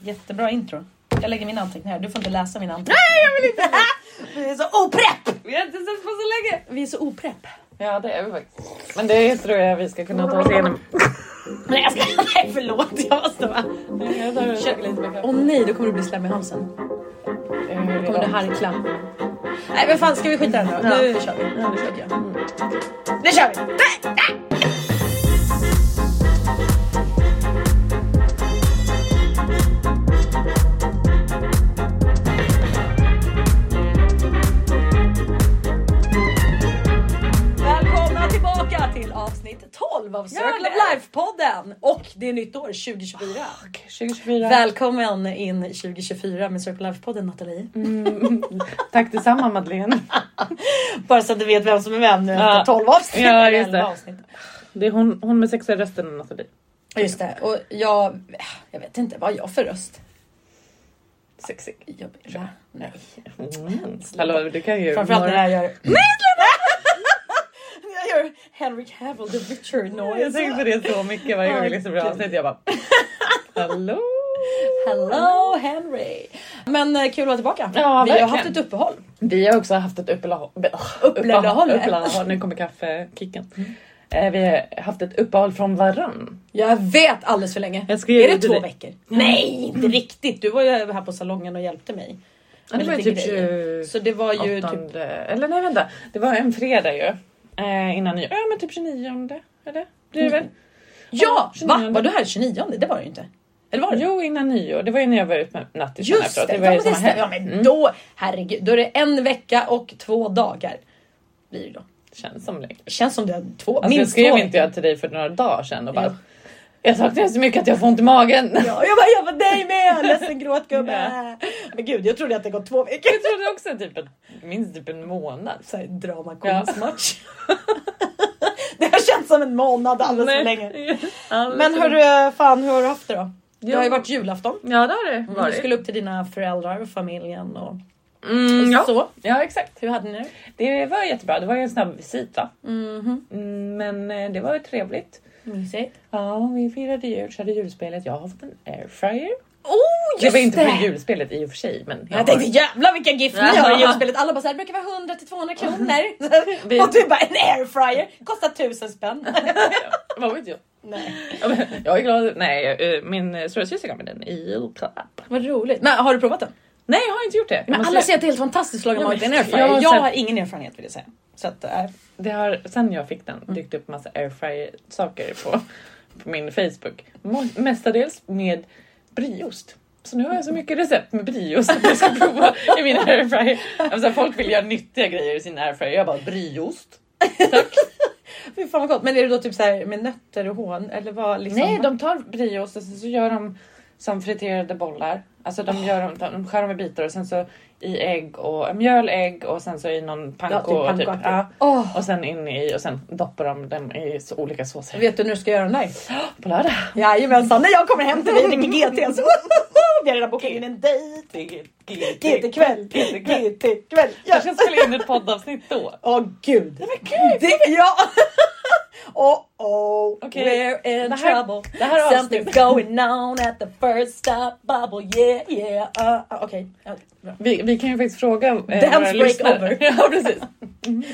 Jättebra intro. Jag lägger mina anteckningar. Du får inte läsa mina anteckningar. Nej jag vill inte! Vi är så oprepp! Vi har inte sett på så länge. Vi är så oprepp. Ja det är vi faktiskt. Men det tror jag vi ska kunna ta oss igenom. Nej, jag ska... Nej förlåt, jag måste bara... Jag tar och käkar lite Åh nej, då kommer du bli slem i halsen. Då kommer du harkla. Nej men fan, ska vi skita i det här nu då? Ja. Nu kör vi. Ja, det ska jag. Mm. Nu kör vi! Nej, nej! Välkomna tillbaka till avsnitt 12 av Circle Ja, of Life-podden. Och det är nytt år 2024. Ah, 2024. Välkommen in 2024 med Circle of Life-podden Nathalie. Mm. Tack detsamma Madeleine. Bara så att du vet vem som är vem nu Ja. efter 12 avsnitt. Ja, Eller just det. 11 avsnitt. Det är hon, hon med sexiga rösten och Nathalie. Just det. Och jag, jag vet inte vad jag har för röst. Sexig. Jag, nej, nej. Mm. Hallå du kan ju. Framförallt när Mor- jag gör... När jag gör Henry Cavill, the Richard Jag noise. tänker på det så mycket varje gång jag lyssnar på det här avsnittet. Jag bara. Hallå. Hello Henry! Men eh, kul att vara tillbaka. Ja, Vi har ju verkligen. haft ett uppehåll. Vi har också haft ett uppehåll. Uppehåll. Uppehåll. Nu kommer kaffekicken. Eh, Vi har haft ett uppehåll från varann. Jag vet alldeles för länge. Jag ska ge är det dig två det. veckor? Nej, inte riktigt. Du var ju här på salongen och hjälpte mig. Ja, det med var ju lite typ grejer. 20... Så det var ju typ... åttonde, eller nej vänta, det var en fredag ju. Eh, innan nyår, ja men typ 29 eller? Blir Mm. det väl? Ja! Va? 29. Var du här 29? Det var du ju inte. Eller var du? Jo innan nyår, det var ju när jag var ute med nattisen Just efteråt. det, var ju ja, men det samma helg. stämmer. Ja, men Mm, då, herregud, då är det en vecka och två dagar. Blir det då. känns som det. Det känns som det är två, Alltså, jag minst skrev två inte jag till dig för några dagar sedan och bara Jo. Jag saknar dig så mycket att jag får ont i magen. Ja, jag bara, jag var dig med! Ledsen gråtgubbe. Men gud, jag trodde att det gått två veckor. Jag trodde också typ att, minst typ en månad. Såhär drama queens-match. det har känts som en månad alldeles för länge. Men hörru, fan hur har du haft det då? Det har ju varit julafton. Ja det har det Du varit. skulle upp till dina föräldrar och familjen och, och Mm, ja. så. ja exakt. Hur hade ni det? Det var jättebra, det var ju en snabb visit va? Mhm, Mm, men eh, det var ju trevligt. mysigt. Ja, vi firade jul, körde julspelet. Jag har fått en airfryer. Oh, Det just var inte det! för julspelet i och för sig, men Jag tänkte jävlar vilka gift ni har i Ja. julspelet. Alla bara såhär, det brukar vara 100 till 200 kronor. Vi- Och du bara en airfryer kostar 1000 spänn. vad vet jag? Nej. Ja, men Jag är glad. Nej, eh, min eh, storasyster gav mig den i julklapp. Vad roligt. Men har du provat den? Nej, jag har inte gjort det. Jag Men måste alla ju- säger att det är helt fantastiskt att laga Ja, mat i en men- airfryer. jag har Jag sett- har ingen erfarenhet vill jag säga. Så att, eh, det har, sen jag fick Mm. den dykt upp massa airfryer saker på, på min Facebook. Mo- Mestadels med brieost. Så nu har jag så mycket recept med brieost att jag ska prova i min airfryer. Alltså, folk vill göra nyttiga grejer i sin airfryer. Jag bara brieost. fy fan vad gott. Men är det då typ såhär med nötter och hån? Eller vad liksom? Nej, de tar brieost och sen så gör de som friterade bollar. Alltså de, gör dem, de skär dem i bitar och sen så i ägg och äh, mjöl, ägg och sen så i någon panko. Ja, typ och typ, pannkakor. ja, Åh, och sen in i och sen doppar de dem i så olika såser. Vet du när du ska göra den där? På lördag. Jajamensan, när jag kommer hem till dig och dricker GT så vi har redan bokat in en dejt. GT-kväll, GT-kväll. Jag ska spela in ett poddavsnitt då. Åh gud! Nej, men gud! Det, ja! oh oh, Okej. eh, we're in Det här- trouble. det här är Something avsnitt. going on at the first stop bubble, yeah yeah. Uh, uh, Okej, ja, bra. Vi, vi kan ju faktiskt fråga eh, Dance våra break lyssnare. over. Ja, precis.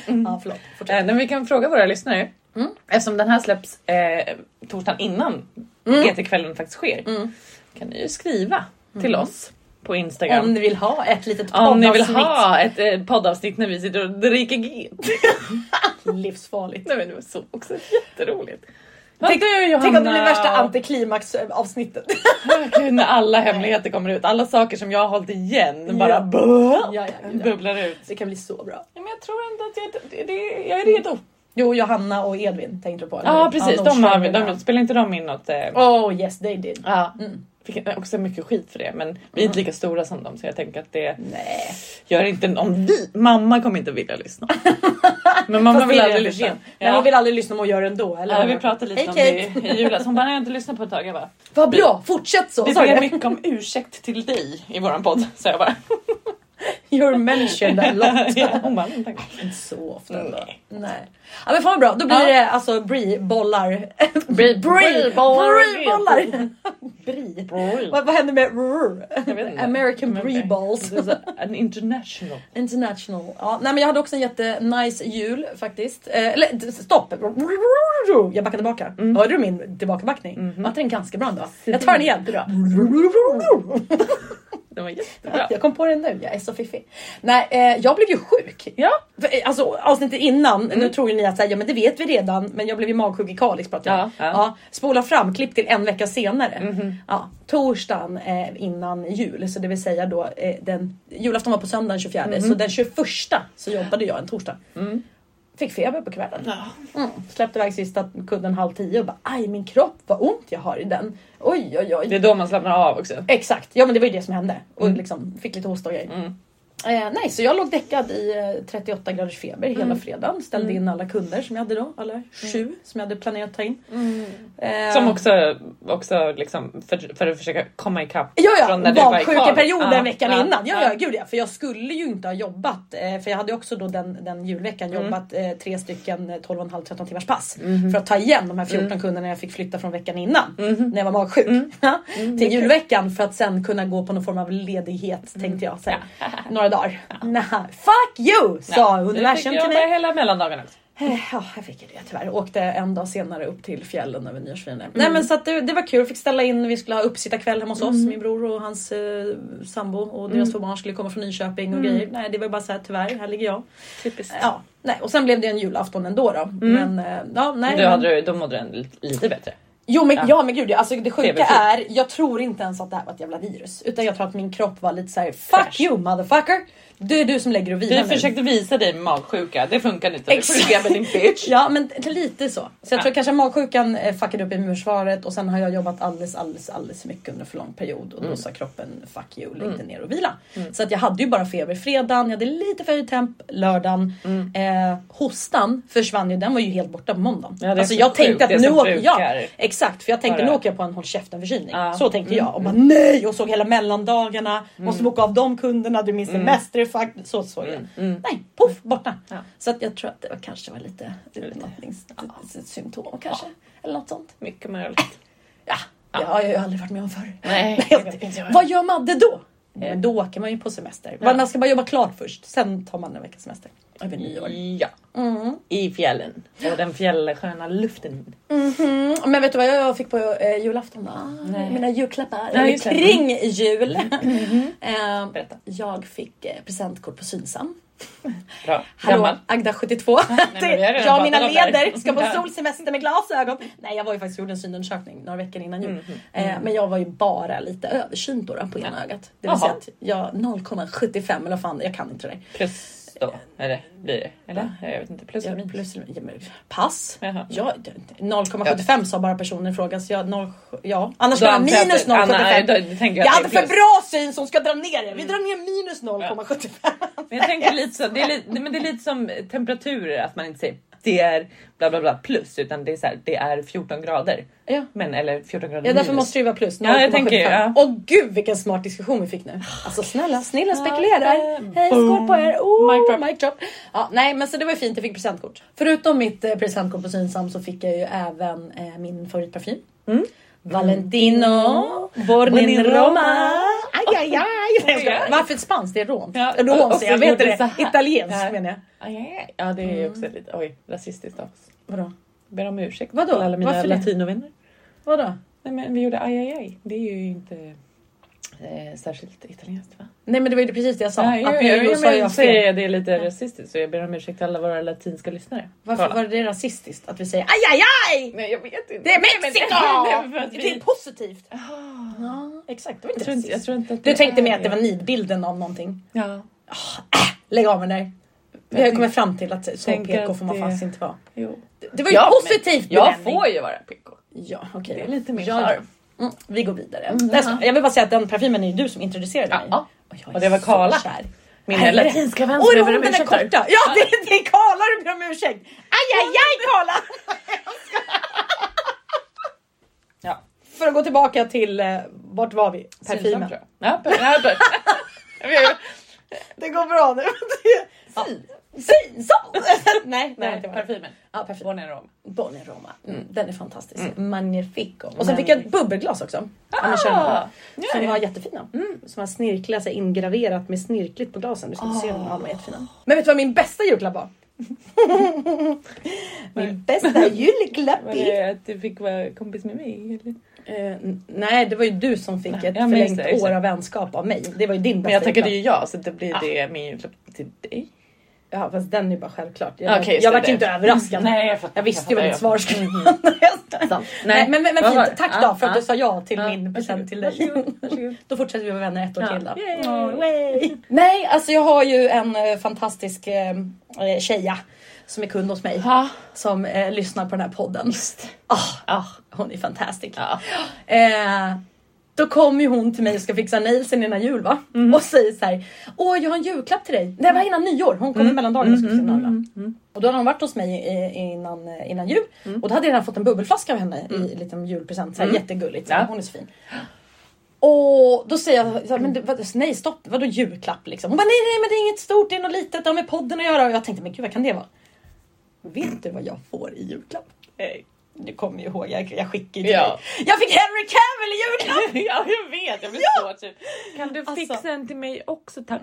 Ja, förlåt. Fortsätt. Eh, men vi kan fråga våra lyssnare. Mm. Eftersom den här släpps eh, torsdagen innan Mm. GT-kvällen faktiskt sker. Mm. Kan ni ju skriva till oss på Instagram. Om ni vill ha ett litet Om ni Mm. vill poddavsnitt. ha ett eh, poddavsnitt när vi sitter och dricker gin. Livsfarligt. Nej men det var så också jätteroligt. Tänk, du, Tänk om det blir värsta antik. antiklimaxavsnittet. När alla hemligheter kommer ut, alla saker som jag har hållit igen bara Ja. buh, ja, ja, gud, ja. bubblar ut. Det kan bli så bra. Ja, men jag tror ändå att jag, det, det, jag är redo. Jo, Johanna och Edvin tänkte du på? eller? Ja precis, Ja, de, har, kör de, det. spelar inte de in något? Eh, Oh yes, they did. Ja. Mm. Fick också mycket skit för det men vi är inte lika stora som dem så jag tänker att det Nej. gör inte om vi. Mamma kommer inte vilja lyssna. Men mamma Fast vill det är aldrig redan för lyssna. sent. Nej, hon vill aldrig lyssna om hon gör det ändå. Eller? Ja, vi pratade lite Hej, om Kate. det i- i julas. Hon bara, nej, jag har inte lyssnat på ett tag. Jag bara, Vad bra, fortsätt så! vi sa ber jag. mycket om ursäkt till dig i våran podd. Så jag bara, You're mentioned a lot. ja, hon bara, "Mm, tack." Inte så ofta. Nej. ändå. Nej. Ja men fan vad bra, då blir Ja. det alltså brie-bollar. Brie- bollar. Brie-bollar! Brie. Vad, vad händer med rrr? Jag vet inte. American Men brie okej. balls? Det är så här, An international. International. Ja, nej men jag hade också en jättenice jul faktiskt. Eh, eller d- stopp! Jag backar tillbaka. Mm. Hörde du min tillbakabackning? Mhm. Var inte den ganska bra ändå? Jag tar den igen. Bra. Den var jättebra. Jag kom på den nu, jag är så fiffig. Nej, eh, jag blev ju sjuk. Ja. Mm. För, eh, Alltså avsnittet innan, nu tror ju ni att så här, ja, men det vet vi redan, men jag blev ju magsjuk i Kalix pratade jag om. Ja, Mm. ja. Spola fram, klipp till en vecka senare. Ja, torsdagen eh, innan jul, så det vill säga då eh, den, julafton var på söndagen 24, så den 21 så jobbade jag en torsdag. Mm. Fick feber på kvällen. Mm. Släppte iväg sista kudden halv tio och bara aj min kropp vad ont jag har i den. Oj oj oj. Det är då man slappnar av också. Exakt, ja men det var ju det som hände. Och Alltså. Mm. liksom fick lite hosta och grejer. Mm. Eh, nej, så jag låg däckad i eh, 38 graders feber Mm. hela fredagen. Ställde in alla kunder som jag hade då, alla sju som jag hade planerat att ta in. Eh, Mm. Som också, också liksom för, för att försöka komma ikapp. Ja, ja, från när du var i Karl. valsjukeperioden Ja, veckan ja, innan. Ja, ja. ja, gud ja. För jag skulle ju inte ha jobbat. eh, För jag hade ju också då den, den julveckan Mm. Mm-hmm. jobbat eh, tre stycken eh, 12,5-13 timmars pass. För att ta igen de här Mm. 14 kunderna jag fick flytta från veckan innan. När jag var magsjuk. Mm, Till julveckan för att sen kunna gå på någon form av ledighet Mm. tänkte jag. Så här, Några dagar. Nej, fuck you! Sa universum till till mig. mig. hela mellandagen också. Eh, Ja, jag fick ju det tyvärr. Åkte en dag senare upp till fjällen över nyårsfirandet. Nej Mm. men så att det, det var kul. Fick ställa in, vi skulle ha uppsittarkväll hemma hos oss. Min bror och hans eh, sambo och deras Mm. två barn skulle komma från Nyköping och grejer. Nej det var bara så här tyvärr, här ligger jag. Eh, Typiskt. Ja, nej. Och sen blev det en julafton ändå då. Men eh, ja, nej. Då, men... hade du, då mådde den lite, lite bättre. Jo men ja, men gud alltså det sjuka Feberfri. är, jag tror inte ens att det här var ett jävla virus. Utan jag tror att min kropp var lite så här: fuck Fräsch. you motherfucker. Det är du som lägger och Vi vilar nu. försökte visa dig med magsjuka, det funkar inte. Du får Exakt. ligga med din bitch. Ja men t- lite så. Så jag Ja. tror kanske magsjukan eh, fuckade upp immunförsvaret och sen har jag jobbat alldeles alldeles alldeles för mycket under för lång period och Mm. då sa kroppen fuck you, lägg dig ner och vila. Så att jag hade ju bara feber fredagen, jag hade lite för hög temp lördagen. Mm. Eh, hostan försvann ju, den var ju helt borta på måndagen. Ja, det är alltså så jag sjukt, tänkte det att nu som åker brukar. jag. Exakt för jag tänkte Bara- nu åker jag på en håll käften förkylning. Ja. Mm. Så tänkte jag och bara nej och såg hela mellandagarna. Måste boka av de kunderna, du min Mm. semester är fuck. Så såg jag. Nej, poff borta. Ja. Så att jag tror att det var, kanske var lite utmattningssymptom kanske. Eller något sånt. Mycket möjligt. Ja, det Ja. har jag ju aldrig varit med om förr. Nej, Jag- det vet inte jag. Vad gör Madde då? Men Eh, då åker man ju på semester. Ja. Man ska bara jobba klart först, sen tar man en veckas semester. Över nyår. Ja. I fjällen. Och den fjällsköna luften. Mm, men vet du vad jag fick på eh, julafton då? Ah, Nej. mina julklappar. Ja, Eller just det. kring jul. Eh, Berätta. jag fick eh, presentkort på Synsam. Bra. Hallå Gammal. Agda 72. men vi har redan jag och pratat mina om det här. leder ska på Ja. solsemester med glasögon. Nej jag var ju faktiskt gjorde en synundersökning några veckor innan Mm, jul. Eh, men jag var ju bara lite översynt då, då på ena ögat. Det vill Jaha. säga att jag 0,75 eller vad fan jag kan inte det där. Plus då. Eller blir det? Eller? Jag vet inte. Plus eller Jag, minus? plus, ja, men pass. Jaha. Ja, d- d- 0,75 sa bara personen i fråga så jag 0, ja. annars Då var jag antar jag minus att- Anna, 0,75. då- då tänker Jag jag att hade det är för plus. bra syn som ska dra ner det. Vi drar ner minus 0,75. Men jag tänker lite så, det är lite, men det är lite som temperaturer, att man inte säger det är bla bla bla plus, utan det är så här, det är 14 grader. Ja. Men eller 14 grader Ja därför minus. måste det ju vara plus Ja, jag tänker, 0,75. ja. Åh gud vilken smart diskussion vi fick nu. Alltså snälla, snälla spekulerar. Boom. Hej skål på er. Oh, Mic mic drop. drop. Ja, nej men så det var ju fint, jag fick presentkort. Förutom mitt eh, presentkort på Synsam så fick jag ju även eh, min favoritparfym. Valentino Bornin Bornin Mm. Roma. Roma. Aj, aj, aj. Nej, jag skojar. Oj, oj. Varför ett spanskt? Det är romt. Ja, och Romskt, så jag vet gjorde det det. så här. Italienskt Ja. menar jag. Aj, aj, aj. Ah, Ja det är ju också lite oj, rasistiskt av oss. Vadå? Ber om ursäkt Vadå? till alla mina Varför det? latinovänner. Vadå? Nej men vi gjorde aj aj aj. Det är ju inte eh, särskilt italienskt va? Nej men det var ju precis det jag sa. Nej, att jag, nu jag, jag, sa jag fel. säger det är lite rasistiskt så jag ber om ursäkt till alla våra latinska lyssnare. Varför Kolla. var det rasistiskt att vi säger aj, aj, aj? Nej jag vet inte. Det är Mexiko! Nej, men för att vi- Det är positivt. Ja, exakt. Det var Jag inte tror typ- inte, jag rasistiskt. tror inte att Du det tänkte är mer att det var nidbilden av någonting. Ja. Lägg av med det där. Vi har ju kommit fram till att så tänker PK får man att det- fast inte vara. Jo. Det var ju positivt Jag benämning. får ju vara PK. Ja, okej. Det är lite min Ja, ja. charm. Mm, vi går vidare. Mm, Nej, jag skojar. jag vill bara säga att den parfymen är ju du som introducerade Ja. mig. Ja. Och, jag är Och det var så Karla. kär. Min Är det? latinska vän Oj, som då, jag ber den om är ursäkt för. korta! Ja, det, det är Karla du ber om ursäkt! Aj, aj, aj Karla! Ja. För att gå tillbaka till, eh, vart var vi? Parfymen. Parfymen. tror jag. Ja, per- ja, per- Jag vet- Det går bra nu. Ja. Fy! Säg så! nej, nej, Nej, det var parfymen. Ja, perfekt. Bonnier Rom. Bonnie Roma. Mm. Den är fantastisk. Magnifico. Mm. Ah, Och sen Magnifico. fick jag ett bubbelglas också. av min Ah! kärna. Som var jättefina. Som var snirkliga, så här ingraverat med snirkligt på glasen. Du ska oh. se dem. Ja, de var jättefina. Men vet du vad min bästa julklapp var? min bästa julklapp Var är... det att du fick vara kompis med mig? Eller? Eh, n- nej, det var ju du som fick Nej, ett ja, men förlängt just det, just år det. av vänskap av mig. Det var ju din Men jag bästa tackade julklapp. ju ja så det blir Ah. det min julklapp till dig. Ja, fast den är ju bara självklart. Jag, Okej, just jag det, var ju det. inte överraskad. Nej, jag fattar, jag visste ju jag vad ditt svar fattar, skulle vara. Nej, Nej, men, men, men vad var det? fint. Tack då Ja, för att du ja. sa ja till Ja, min present varsågod, till dig. varsågod, varsågod. Då fortsätter vi vara vänner ett år Ja. till då. Yay. Ja, way. Nej, alltså jag har ju en eh, fantastisk eh, eh, tjeja som är kund hos mig. Ja. Som eh, lyssnar på den här podden. Ah, Ah. hon är fantastisk. Ja. Eh, då kom ju hon till mig och ska fixa nailsen innan jul va? Och säger så här. Åh jag har en julklapp till dig. Det var innan nyår. Hon kom i mellandagarna och skulle fixa mm, Och då hade hon varit hos mig eh, innan, eh, innan jul. Och då hade jag redan fått en bubbelflaska av henne i en liten julpresent. Så här, Jättegulligt. Så här, Ja. Hon är så fin. Och då säger jag så här, men det, vad, nej stopp, vadå julklapp liksom? Hon bara nej nej men det är inget stort, det är något litet, det har med podden att göra. Och jag tänkte men gud vad kan det vara? Vet du vad jag får i julklapp? Nej. Du kommer ju ihåg, jag, jag skickade ju till Ja. dig. Jag fick Henry Cavill i julklapp! ja jag vet, jag blir så typ. Kan du fixa Alltså. en till mig också tack?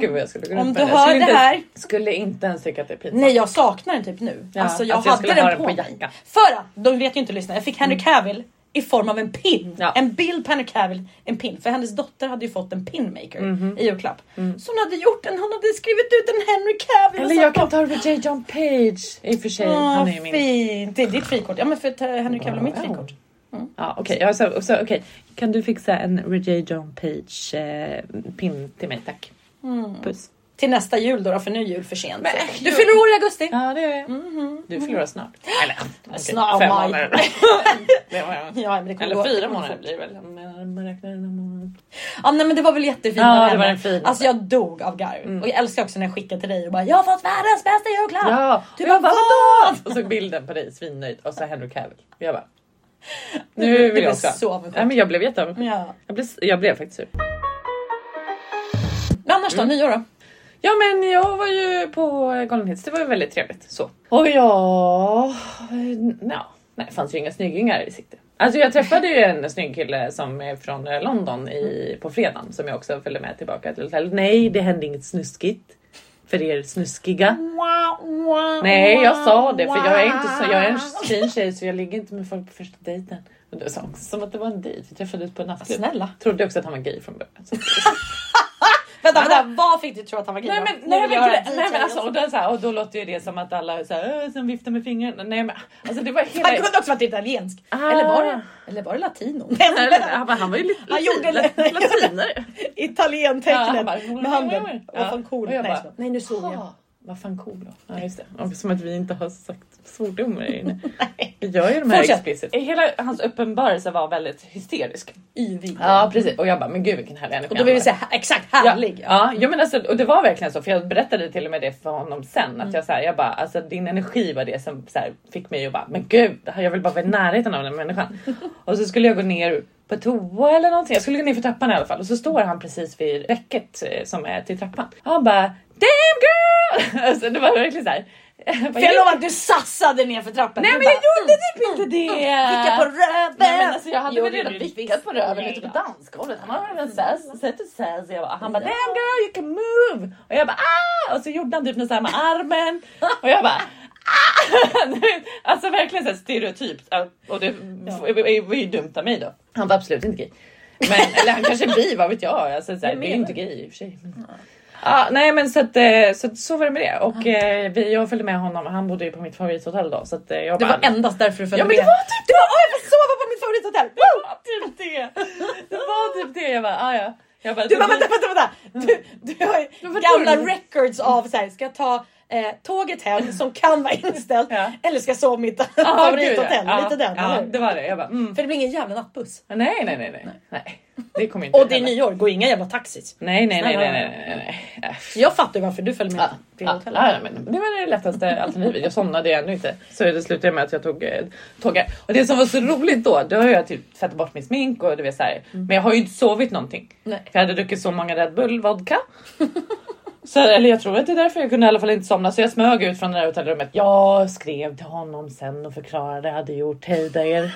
Gud vad jag skulle gå Om runt du med hör Skulle det inte- här- Skulle inte ens tycka att det är pinsamt. Nej jag saknar den typ nu. Ja, Alltså jag alltså, jag hade skulle den, ha på, den på mig. jacka. För att, de vet ju inte lyssna, jag fick Henry Cavill i form av en pin. Ja. En bild på Henry Cavill, en pin. För hennes dotter hade ju fått en pinmaker Mm. i julklapp. Så hon hade gjort en, hon hade skrivit ut en Henry Cavill. Eller satt jag på- kan ta det för J. John Page. I och för sig, Åh, han är ju min. fint! Det är ditt frikort. Ja men för att, eh, Henry Cavill är mitt Mm. Wow. frikort. Ja, okej. Ja, så, så, okej. Kan du fixa en J. John Page eh, pin till mig tack? Mm. Puss. Till nästa jul då, då, för nu är jul för sent. Men, äh, du fyller år i augusti. Ja det gör jag. Du förlorar snart. Eller okej, Mm-hmm. Snart, fem maj. månader. Det var jag. Ja, men det kommer Eller gå- det fyra kommer månader fort. blir det väl. Om jag- om man räknar en månad. Ja nej men det var väl jättefint Ja, av det henne. var en fin. Alltså jag dog av garv. Och jag älskar också när jag skickar till dig och bara jag har fått världens bästa julklapp. Ja, Du och bara jag bara, vad? Och så bilden på dig svinnöjd och så Henry Cavill. Jag bara. Nu vill blev jag också. så avundsjuk. Nej, men jag blev jätteavundsjuk. Ja. Jag blev, jag blev faktiskt sur. Men annars Mm. då, nyår då? Ja men jag var ju på Galenhets, det var ju väldigt trevligt. Så. Och jag... Ja, nej, det fanns ju inga snyggingar i sikte. Alltså jag träffade ju en snygg kille som är från eh, London i, på fredagen som jag också följde med tillbaka till hotellet. Nej, det hände inget snuskigt. För er snuskiga. Nej, jag sa det för jag är inte så, jag är en fin tjej så jag ligger inte med folk på första dejten. Men det var också som att det var en dejt, vi träffades på en nattklubb. Snälla. Trodde också att han var gay från början. Så- Vänta, vänta, vad fick du tro att han var gay Ah. Nej då? men, Nu nej, vill men, jag höra gre- en nej, men detail. alltså, och, då, så här, och då låter ju det som att alla är så här, "Åh", som viftar med fingrarna. Nej men alltså det var hela... Han kunde också varit italiensk. Ah. Eller, var det, eller var det latino? Nej, men han, var- han var ju lite Han gjorde latin- det. latinare. Ja, Italientecknet han bara, med handen. ja. Vad fan cool. Och jag Nej, bara, så. Nej nu såg jag. "Ah, Vad fan cool då. Ja just det. Och som att vi inte har sagt svordomar här inne. Vi gör ju de här Fortsätt. explicit. Eh, Hela hans uppenbarelse var väldigt hysterisk. Yvig. Ja precis och jag bara men gud vilken härlig energi Och då han vill vi har. säga här- exakt härlig. Ja, ja, jo, men alltså, och det var verkligen så för jag berättade till och med det för honom sen Mm. att jag så här, jag bara alltså din energi var det som så här, fick mig att bara men gud jag vill bara vara i närheten av den människan. och så skulle jag gå ner på toa eller någonting. Jag skulle gå ner för trappan i alla fall och så står han precis vid räcket eh, som är till trappan. Han bara damn girl! alltså, det var verkligen så här. För jag lovar att du sassade ner för trappen. Nej Du men jag bara, gjorde typ inte det! Vicka på röven! Nej, men alltså, jag hade Jo, väl det redan gjorde du vickat på visst. röven Nej ute på då. dansgolvet. Han har Mm. väl en sass, sätt och sass. Jag bara, han bara damn girl you can move! Och jag bara ah! Och så gjorde han typ något såhär med armen. Och jag bara ah! Alltså verkligen såhär stereotypt. Och det var ju dumt av mig då. Han var absolut inte gay. Men, eller han kanske är bi, vad vet jag? Alltså, såhär, det är ju inte gay i och för sig. Men... Ja, nej men så att, eh, så, så var det med det. Och eh, vi, jag följde med honom, han bodde ju på mitt favorithotell då. Så att, eh, jag Det bara, var endast därför du följde Ja men det med. var typ det! Åh, jag får sova på mitt favorithotell! Det var typ det! Det var typ det! Jag bara, ah, ja. Jag bara, Du bara vänta, vänta, vänta! Du, du har ju Mm. Men vadå? gamla records av så här, ska jag ta eh, tåget hem som kan vara inställt Ja. eller ska jag sova i mitt favorithotell. Lite den, ja, eller hur? det var det. Jag bara, mm. För det blir ingen jävla nattbuss. nej, nej, nej, nej, nej. Det kommer inte Och det är hända. nyår, gå inga jävla taxis. Nej, nej, nej, nej, nej, nej, nej. Äh, Jag fattar ju varför du följer med Ja, till ja, hotellet. ja, men det var det lättaste alternativet. Jag somnade ännu inte. Så det slutade med att jag tog eh, tåget. Och det som var så roligt då, då har jag typ tvättat bort min smink och du vet så här. Mm. Men jag har ju inte sovit någonting. Nej. För jag hade druckit så många Red Bull vodka. Så, eller jag tror att det är därför jag kunde i alla fall inte somna så jag smög ut från det där hotellrummet. Jag skrev till honom sen och förklarade jag hade gjort hejder.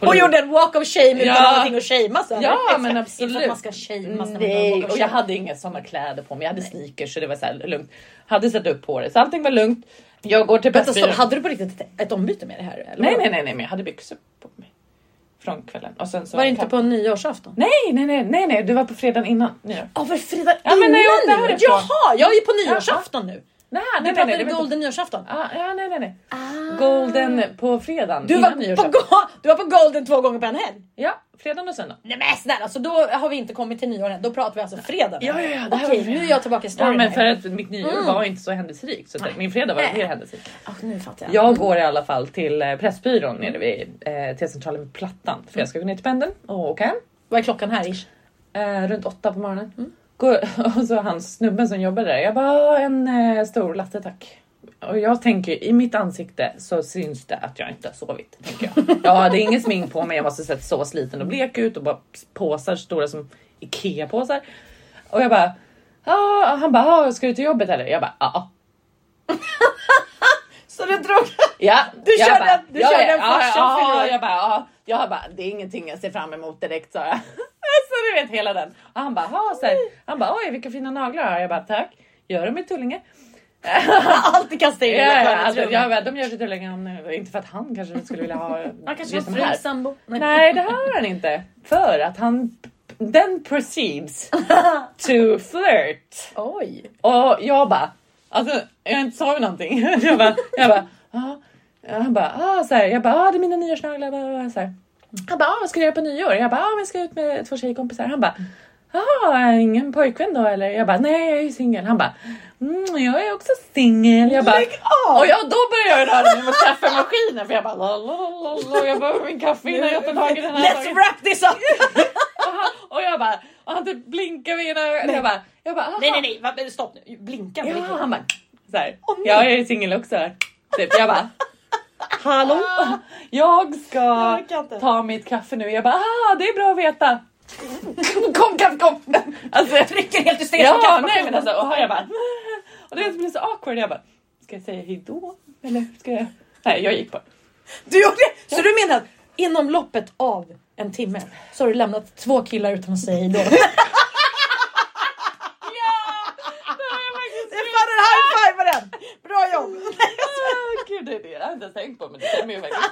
Och gjorde en walk of shame utan Ja. någonting att shameas över. Ja, Exakt. men Inte för att absolut. man ska shameas när man gör en Mm, Nej, walk of och jag shame. hade inga sådana kläder på mig. Jag hade sneakers så det var så här lugnt. Hade satt upp håret så allting var lugnt. Jag går till Vänta, stopp, Pressbyrån. hade du på riktigt ett, ett ombyte med det här? Eller Nej, vad? nej, nej, nej, men jag hade byxor på mig. Från kvällen. Och sen så Var det inte på nyårsafton? Nej, nej, nej, nej, nej, det var på fredagen innan nyår. Ja, för fredag Ja, men när jag åkte innan nyår. härifrån. Jaha, jag är ju på nyårsafton nu. Nej, Du nej, nej, nej, pratade det om var inte... golden nyårsafton. ah, ja, nej, nej, nej. Golden på fredagen Du var, innan på, nyårsafton. go- du var på golden två gånger på en helg. Ja, fredagen och söndag. Nej men snälla, alltså då har vi inte kommit till nyår än. Då pratar vi alltså fredag. nu. Ja, ja, ja, det här Okej, var fredag. nu är jag tillbaka i Ja, storyn. men för här. att mitt nyår var inte så händelserikt så att min fredag var Mm. Nej. mer händelserik. Ah, nu fattar jag. Jag går i alla fall till eh, Pressbyrån nere vid eh, T-centralen vid Plattan för jag ska gå ner till pendeln och åka hem. Vad är klockan här ish? Eh, runt åtta på morgonen. Går, och så han snubben som jobbar där. Jag bara en eh, stor latte tack. Och jag tänker i mitt ansikte så syns det att jag inte har sovit. Tänker jag. jag hade ingen smink på mig. Jag måste sett så sliten och blek ut och bara påsar stora som Ikea påsar. Och jag bara. Ah, han bara ah, ska du till jobbet eller? Jag bara ja. Ah. Så du drog... Ja, Du jag körde- bara, du jag körde bara, en farsan ja, ja, förlorad. jag bara, ja, jag bara, det är ingenting jag ser fram emot direkt sa jag. Så Alltså, du vet hela den. Och han bara, ha, så här, han bara, oj vilka fina naglar jag har. Jag bara, tack. Gör dem i Tullinge. Alltid kastar in Ja, i ja, skönhetsrummet. alltså, jag bara, de görs i Tullinge. om nu- Inte för att han kanske skulle vilja ha Han kanske det var som fru, här. sambo. Nej, det har han inte. För att han, den proceeds to flirt. Oj. Och jag bara, alltså jag inte sa ju någonting. Jag bara, jag bara, ah. Han bara, ah, så här. jag bara, ah, det är mina nyårsnaglar. bla, bla, bla, Så här. Han bara, ah, vad ska du göra på nyår? Jag bara, ah, men jag ska ut med två tjejkompisar. Han bara, ah, ingen pojkvän då eller? Jag bara, nej jag är ju singel. Han bara, mm, jag är också singel. Jag bara, Lägg av! och jag, då började jag ju röra mig mot kaffemaskinen för jag bara, la, la, la, la. jag behöver min kaffe innan jag tar tag i den här saken. Let's wrap this up! Och han- Och jag bara, och han typ blinkar med ena ögat. Jag bara, jag bara, nej "Aha." nej nej, vad- stopp nu. Blinka inte. Ja, han bara såhär. Åh, nej. jag är singel också. Typ. Jag bara. "Ah." Hallå? Jag ska orkar inte. ta mitt kaffe nu. Jag bara, ah, det är bra att veta. kom kaffe, kom! Alltså, jag Trycker helt hysteriskt på Mm. ja, nej, kaffemaskinen. men alltså, och jag bara. "Ah." Och det blev så awkward. Jag bara, ska jag säga hejdå? Eller ska jag? Nej, jag gick bara. Du gjorde det? Så du menar att inom loppet av en timme så har du lämnat två killar utan att säga hejdå? Det Ja! Det har jag faktiskt gjort. en high five på den! Bra jobb! Ah, Gud, det är det jag hade inte tänkt på, men det stämmer ju verkligen.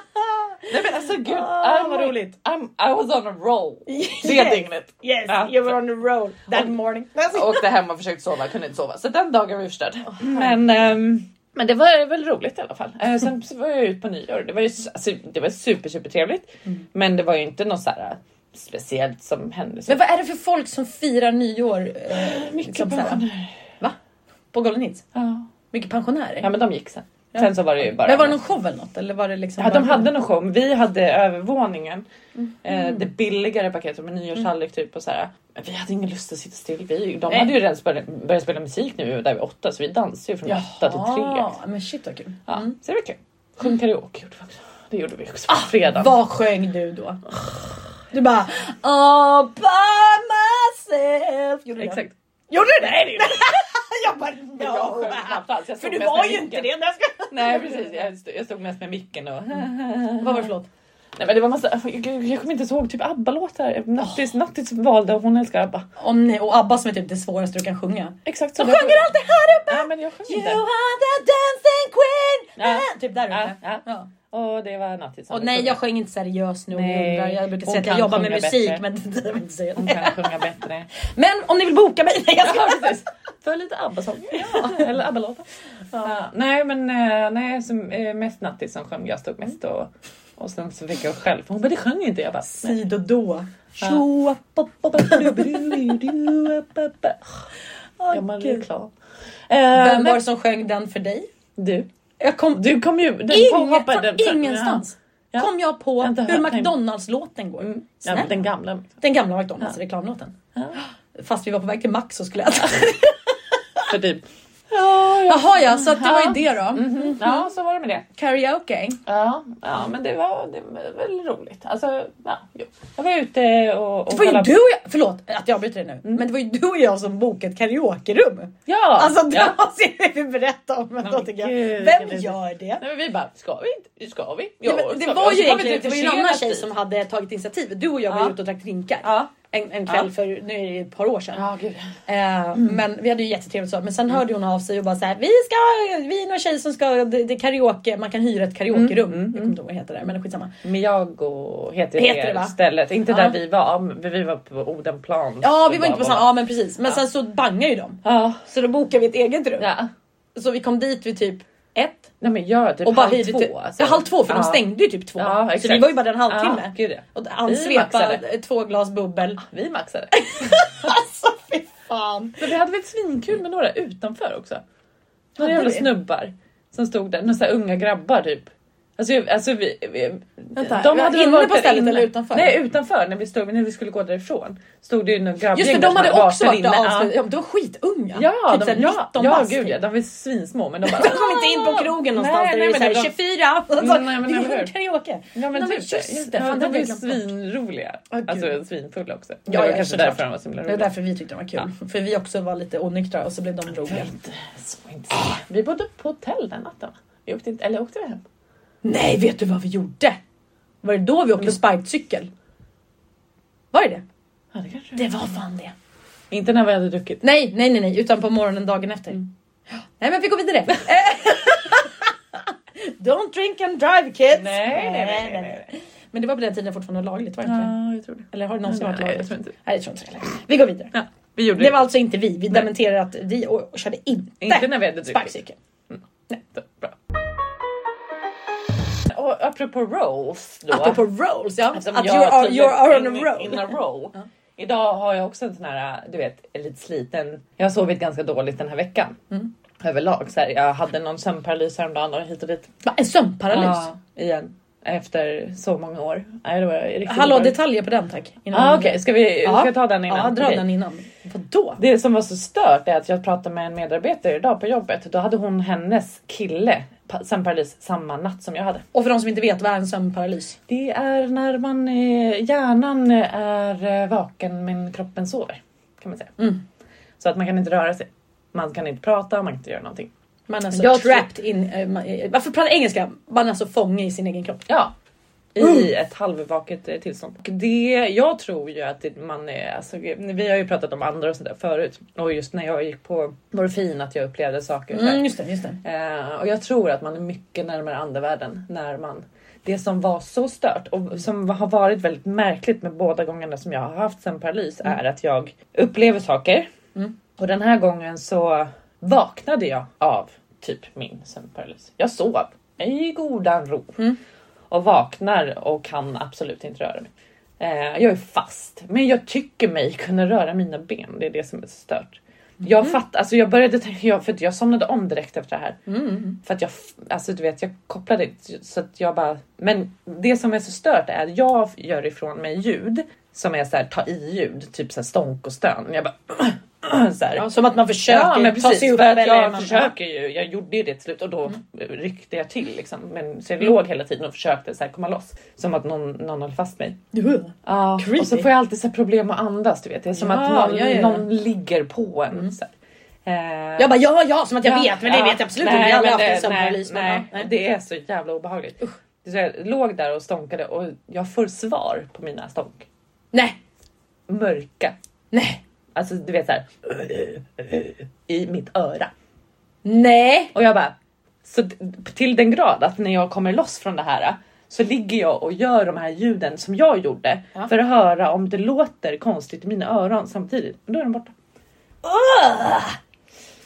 Nej men alltså gud, Ah, I'm vad like- roligt. I'm, I was on a roll. Det Yes. dygnet. Yes, Ja. you were on the road that morning. Jag åkte hem och försökte sova, kunde inte sova. Så den dagen var jag förstörd. men, ehm, men det var väl roligt i alla fall. Eh, sen så var jag ute på nyår. Det var, ju, s- alltså, det var super, super trevligt. Men det var ju inte något så här eh, speciellt som hände. Så Men vad är det för folk som firar nyår? Eh, Ah, mycket liksom så här, pensionärer. På Golden Hits? Ja. Mycket pensionärer? ja men de gick sen. Sen så var det ju bara... Men var det någon show eller något? Eller var det liksom Ja, bara- de hade någon show, men vi hade övervåningen. Eh, det billigare paketet med nyårstallrik typ och så här. Men vi hade ingen lust att sitta still. Vi, de Nej. hade ju redan börjat, börjat spela musik nu, vi var där vid åtta så vi dansade ju från åtta till tre. Jaha, men shit vad kul. Mm. Ah, Ja, Så det var kul. Sjung Mm. karaoke gjorde vi också. Det gjorde vi också på fredagen. Vad sjöng du då? Du bara All by myself. Gjorde du det? Exakt. Gjorde du det? Nej, det gjorde jag bara Men jag no. sjöng knappt alls. Jag För stod du mest var med ju micken. inte det. när Jag ska... Nej precis, jag stod, jag stod mest med micken och... Vad var det för låt? Nej men det var massa, jag, jag kommer inte ihåg, typ ABBA-låtar. Ah. Nattis, Nattis valde och hon älskar ABBA. Om ni, och ABBA som är typ det svåraste du kan sjunga. Exakt De det var. sjunger alltid här uppe. Ja men jag sjöng You inte. are the dancing queen. Ja. Ah, Typ där uppe. Ja, ja. Ja. Och det var Nattis som Och nej jag sjöng inte seriös nu om ni Nej, undrar. Jag brukar hon säga att jag kan jobbar med sjunga musik bättre. men det behöver inte säga Hon det. kan sjunga bättre. Men om ni vill boka mig. Nej, jag ska... Ja precis. För lite ABBA-sånger. Ja, eller ABBA-låtar. Ja. Nej men eh, nej, så, eh, mest Nattis som sjöng. Jag stod mest och, och sen så fick jag själv. Hon bara det sjöng inte. Jag bara nej. Tid och då. Ja. Tjoa, pop, pop, pop. Oh, Gammal reklam. Eh, Vem var men- det som sjöng den för dig? Du. Jag kom Du kom ju... Den Inge, hoppade- från den- ingenstans Ja. kom jag på Jag har inte hur hört den. McDonalds-låten går. Ja. Mm. Ja, Snälla. den gamla. Den gamla McDonalds-reklamlåten. Ja. Fast vi var på väg till Max och skulle äta. För typ. Jaha ja, så att det var ju Ja. Mm. det då. Ja, så var det med det. Karaoke. Ja, ja men det var, det var väl roligt. Alltså, ja, jo. Jag var ute och... och Det var ju kollade- du och jag, förlåt att jag avbryter dig nu, Mm. men det var ju du och jag som bokade ett karaokerum. Ja! Alltså det ja. måste vi berätta om. Men men då tycker jag, gud, vem vilken gör det? Nej, men vi bara, ska vi inte? Ska vi? Nej, Ja, men det ska vi? var Och ju så kom vi egentligen det typ var ju en annan försenat tjej dit. som hade tagit initiativet. Du och jag var Ja. ute och drack drinkar Ja. en, en kväll Ja. för nu är det ju ett par år sedan. Ja, gud. Eh, Mm. Men vi hade ju jättetrevligt så. Men sen hörde hon av sig och bara så här, vi ska, vi är några tjejer som ska, det, det är karaoke, man kan hyra ett karaokerum. Mm, Jag kommer inte ihåg vad det heter där men skitsamma. Miyago heter, Heter det, det va? stället. Inte Ja. där vi var, men vi var på Odenplan. Ja Så vi var inte på samma, ja men precis. Men sen så bangar ju de. Ja. Så då bokade vi ett eget rum. ja. Så vi kom dit vid typ ett Nej men jag typ och bara halv hyrde två. till, ja, halv två för Ja. de stängde ju typ två. Ja, så exakt. vi var ju bara där en halvtimme. Ja, gud ja. Och Vi han svepade maxade. två glas bubbel. Vi maxade. Alltså fy fan. Men vi hade väl svinkul med några utanför också. Några Hade jävla vi? snubbar som stod där, några så här unga grabbar typ. Alltså, jag- alltså vi, vi, Vänta, vi var väl inne varit på där stället eller utanför? Nej utanför när vi, stod, när vi skulle gå därifrån. Stod det ju några grabbgäng Just det, där de som hade också varit varit där där avslutade. inne. Ja, de var skitunga. Ja, ja, typ de, såhär ja, 19 ja bast, gud typ. ja, de var svinsmå men de bara De kom inte in på krogen någonstans Nej, där nej, det är men såhär, 24! de- Och så, Mm, nej, men det eller är hur? karaoke. Ja men, Nej, men typ just det, Ja, fan, det hade de var ju jag glömt bort. svinroliga. Ja, gud. alltså svinfulla också. Ja, det var ja, kanske såklart. därför de var så himla Det var roliga. därför vi tyckte de var kul. För vi också var lite onyktra och så blev de roliga. Så intressant. Vi bodde på hotell den natten va? Vi åkte inte, eller åkte vi hem? Nej, vet du vad vi gjorde? Mm. Var det då vi åkte sparkcykel? Var det det? Ja, det kanske Det var fan det. Inte när vi hade druckit. Nej, nej, nej, nej, utan på morgonen dagen efter. Nej, men vi går vidare. Eh, Don't drink and drive kids. Nej, nej, nej, nej, nej, nej. Men det var på den tiden det fortfarande var lagligt, var det inte? det? Ja, jag tror det. Eller har det någonsin varit Nej, lagligt? jag tror inte det. Nej, jag tror inte det. heller. Vi går vidare. Ja, vi gjorde Det det. var alltså inte vi. Vi dementerar att vi och, och körde inte, Inte när vi hade druckit. sparkcykel. Bra. Och apropå rolls då. Apropå rolls, ja. Eftersom att jag you're, on- tydligen you're on in- a roll. In a roll. Idag har jag också en sån här, du vet, lite sliten. Jag har sovit ganska dåligt den här veckan. Överlag. Så här, jag hade någon sömnparalys häromdagen och hit och dit. Va, en sömnparalys. Ja, igen. Efter så många år. Nej, det var riktigt Hallå, dåligt. detaljer på den tack. Innan ah, vi- Okej, ska vi Ja. ska jag ta den innan? Ja, dra Okej. den innan. Vadå? Det som var så stört är att jag pratade med en medarbetare idag på jobbet. Då hade hon hennes kille pa- sömnparalys samma natt som jag hade. Och för de som inte vet, vad är en sömnparalys? Det är när man eh, hjärnan är eh, vaken men kroppen sover kan man säga. Mm. Så att man kan inte röra sig. Man kan inte prata, man kan inte göra någonting. Man är alltså Jag tror- trapped in... eh, man- eh, varför pratar jag engelska? Man är alltså fånge i sin egen kropp. Ja. I ett halvvaket eh, tillstånd. Och det, jag tror ju att det, man är, alltså, vi har ju pratat om andra och sådär förut. Och just när jag gick på morfin att jag upplevde saker. och sådär. Mm, just det, just det. Eh, och jag tror att man är mycket närmare andevärlden när man det som var så stört och som har varit väldigt märkligt med båda gångerna som jag har haft sömnparalys är att jag upplever saker och den här gången så vaknade jag av typ min sömnparalys. Jag sov i godan ro och vaknar och kan absolut inte röra mig. Eh, jag är fast, men jag tycker mig kunna röra mina ben. Det är det som är så stört. Jag fatt, alltså jag började tänka, jag, för att jag somnade om direkt efter det här. Mm. För att jag, f- alltså du vet, jag kopplade inte, så att jag bara. Men det som är så stört är att jag gör ifrån mig ljud som är så här ta i ljud, typ så här stånk och stön. Jag bara så här. Ja, som att man försöker Ja, men ta precis, sig upp. för att jag man- försöker ju. Jag gjorde ju det till slut och då Mm. ryckte jag till liksom. Men, så jag låg hela tiden och försökte så här komma loss. Som att någon, någon höll fast mig. Ja. Ja, Creepy. och så får jag alltid så här problem att andas. Du vet. Det är som Ja, att någon, ja, ja. Mm. någon ligger på en. Så här. Eh, Jag bara ja, ja, som att jag vet, men det ja. vet jag absolut Nej, inte. Jag har aldrig men haft en det- sömnparalys. men Nej, ja, nej. Det är så jävla obehagligt. Så jag låg där och stånkade och jag får svar på mina stånk. nej. Mörka. Nej. Alltså du vet såhär. I mitt öra. Nej. Och jag bara, så d- till den grad att när jag kommer loss från det här så ligger jag och gör de här ljuden som jag gjorde Ja. för att höra om det låter konstigt i mina öron samtidigt. Men då är de borta. Ugh.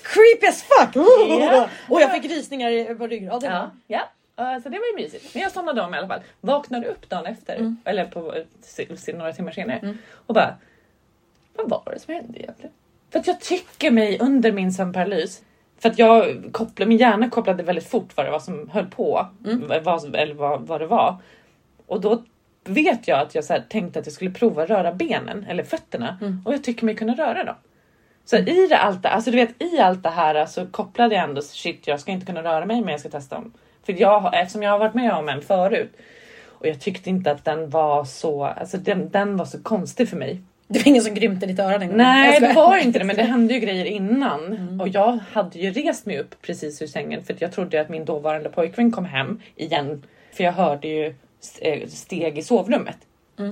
Creepy as fuck! Ugh. Ja. Och jag fick rysningar i- på ryggraden. Ja, ja. Eh, Så det var ju mysigt. Men jag somnade om i alla fall. Vaknade upp dagen efter, eller på, se- se- några timmar senare och bara, vad var det som hände egentligen? För att jag tycker mig under min sömnparalys för att jag kopplade, min hjärna kopplade väldigt fort vad det var som höll på. Vad, eller vad, vad det var. Och då vet jag att jag så här tänkte att jag skulle prova röra benen eller fötterna och jag tycker mig kunna röra dem. Så i det allt, det- alltså du vet i allt det här så kopplade jag ändå shit jag ska inte kunna röra mig men jag ska testa dem. För jag, har- eftersom jag har varit med om en förut och jag tyckte inte att den var så, alltså den, den var så konstig för mig. Det var ingen som grymte ditt öra den gången. Nej Jag det skojar. var inte det men det hände ju grejer innan och jag hade ju rest mig upp precis ur sängen för att jag trodde att min dåvarande pojkvän kom hem igen för jag hörde ju eh, steg i sovrummet.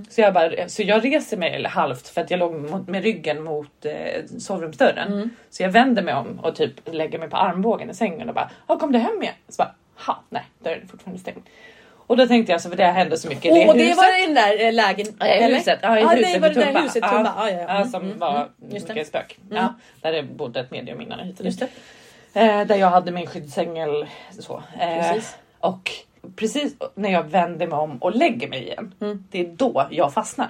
Så, jag bara, så jag reser mig eller halvt för att jag låg mot, med ryggen mot eh, Mm. sovrumsdörren. Så jag vänder mig om och typ lägger mig på armbågen i sängen och bara "Ah, kom du hem igen? Så bara ha, nej dörren är fortfarande stängd. Och då tänkte jag så för det hände så mycket i Åh, det huset. var i den där eh, lägen. Ja, I eller? huset, ja, i Ja, huset nej, var i det där Tumba. huset, Ja, Tumba? Ja, Mm. ja, ja. ja, som var Just det. Mm. mycket spök. Ja, där det bodde ett medium innan jag hittade Just det. Eh, där jag hade min skyddsängel. Så. Eh, Mm. Precis. Och precis när jag vänder mig om och lägger mig igen, Mm. det är då jag fastnar.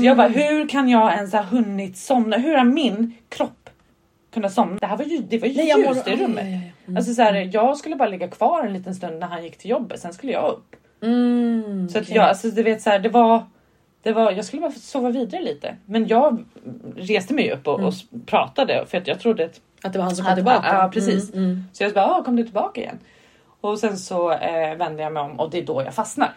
Så jag bara, hur kan jag ens ha hunnit somna? Hur har min kropp kunnat somna? Det här var ju, det var ju Nej, jag mår- ljust i rummet. Aj, aj, aj. Alltså så här, jag skulle bara ligga kvar en liten stund när han gick till jobbet, sen skulle jag upp. Mm, Så att okej. jag, alltså, du vet så här, det var, det var, jag skulle bara sova vidare lite. Men jag reste mig upp och, Mm. och s- pratade för att jag trodde att, Att det var han som att kom tillbaka. Ja, precis. Mm, mm. Så jag bara, "Ah, kom du tillbaka igen? Och sen så eh, vände jag mig om och det är då jag fastnar.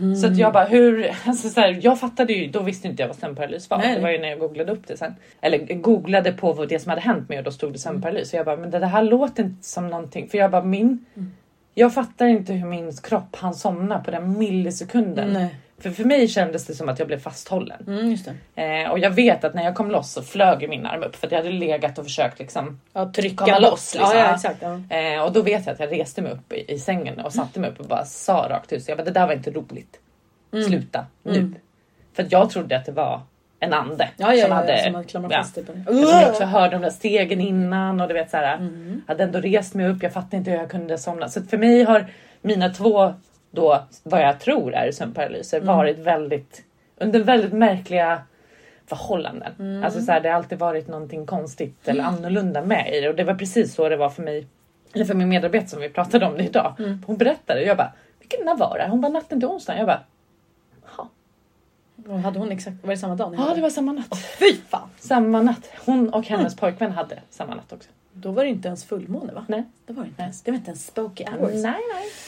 Mhm. Så att jag bara, hur, alltså så här, jag fattade ju, då visste inte jag vad sömnparalys var. Nej. Det var ju när jag googlade upp det sen. Eller eh, googlade på vad, det som hade hänt mig och då stod det sömnparalys. Så jag bara, men det, det här låter inte som någonting. För jag bara, min, Mm. jag fattar inte hur min kropp hann somna på den millisekunden. Nej. För, för mig kändes det som att jag blev fasthållen. Mm, just det. Eh, och jag vet att när jag kom loss så flög ju min arm upp för att jag hade legat och försökt liksom. Ja, trycka Komma loss. loss, ja, liksom. ja, exakt. Ja. Eh, och då vet jag att jag reste mig upp i, i sängen och satte mig upp och bara sa rakt ut. Så jag bara, det där var inte roligt. Mm. Sluta nu. För att jag trodde att det var en ande Ja, ja, som ja, hade som hade klamrat fast typ. dig på den. Eftersom jag också hörde de där stegen innan och du vet så här. Hade ändå rest mig upp. Jag fattade inte hur jag kunde somna. Så att för mig har mina två då vad jag tror är sömnparalyser varit väldigt under väldigt märkliga förhållanden. Alltså så här, det har alltid varit någonting konstigt eller annorlunda med i det och det var precis så det var för mig eller för min medarbetare som vi pratade om det idag. Hon berättade och jag bara vilken dag var det? Hon bara natten till onsdagen. Jag bara Och hade hon exakt, var det samma dag? ni ja hade? det var samma natt. Fy fan! Samma natt. Hon och hennes pojkvän hade samma natt också. Då var det inte ens fullmåne va? Nej. Det var det inte ens. Det var inte ens spooky hours. Nej,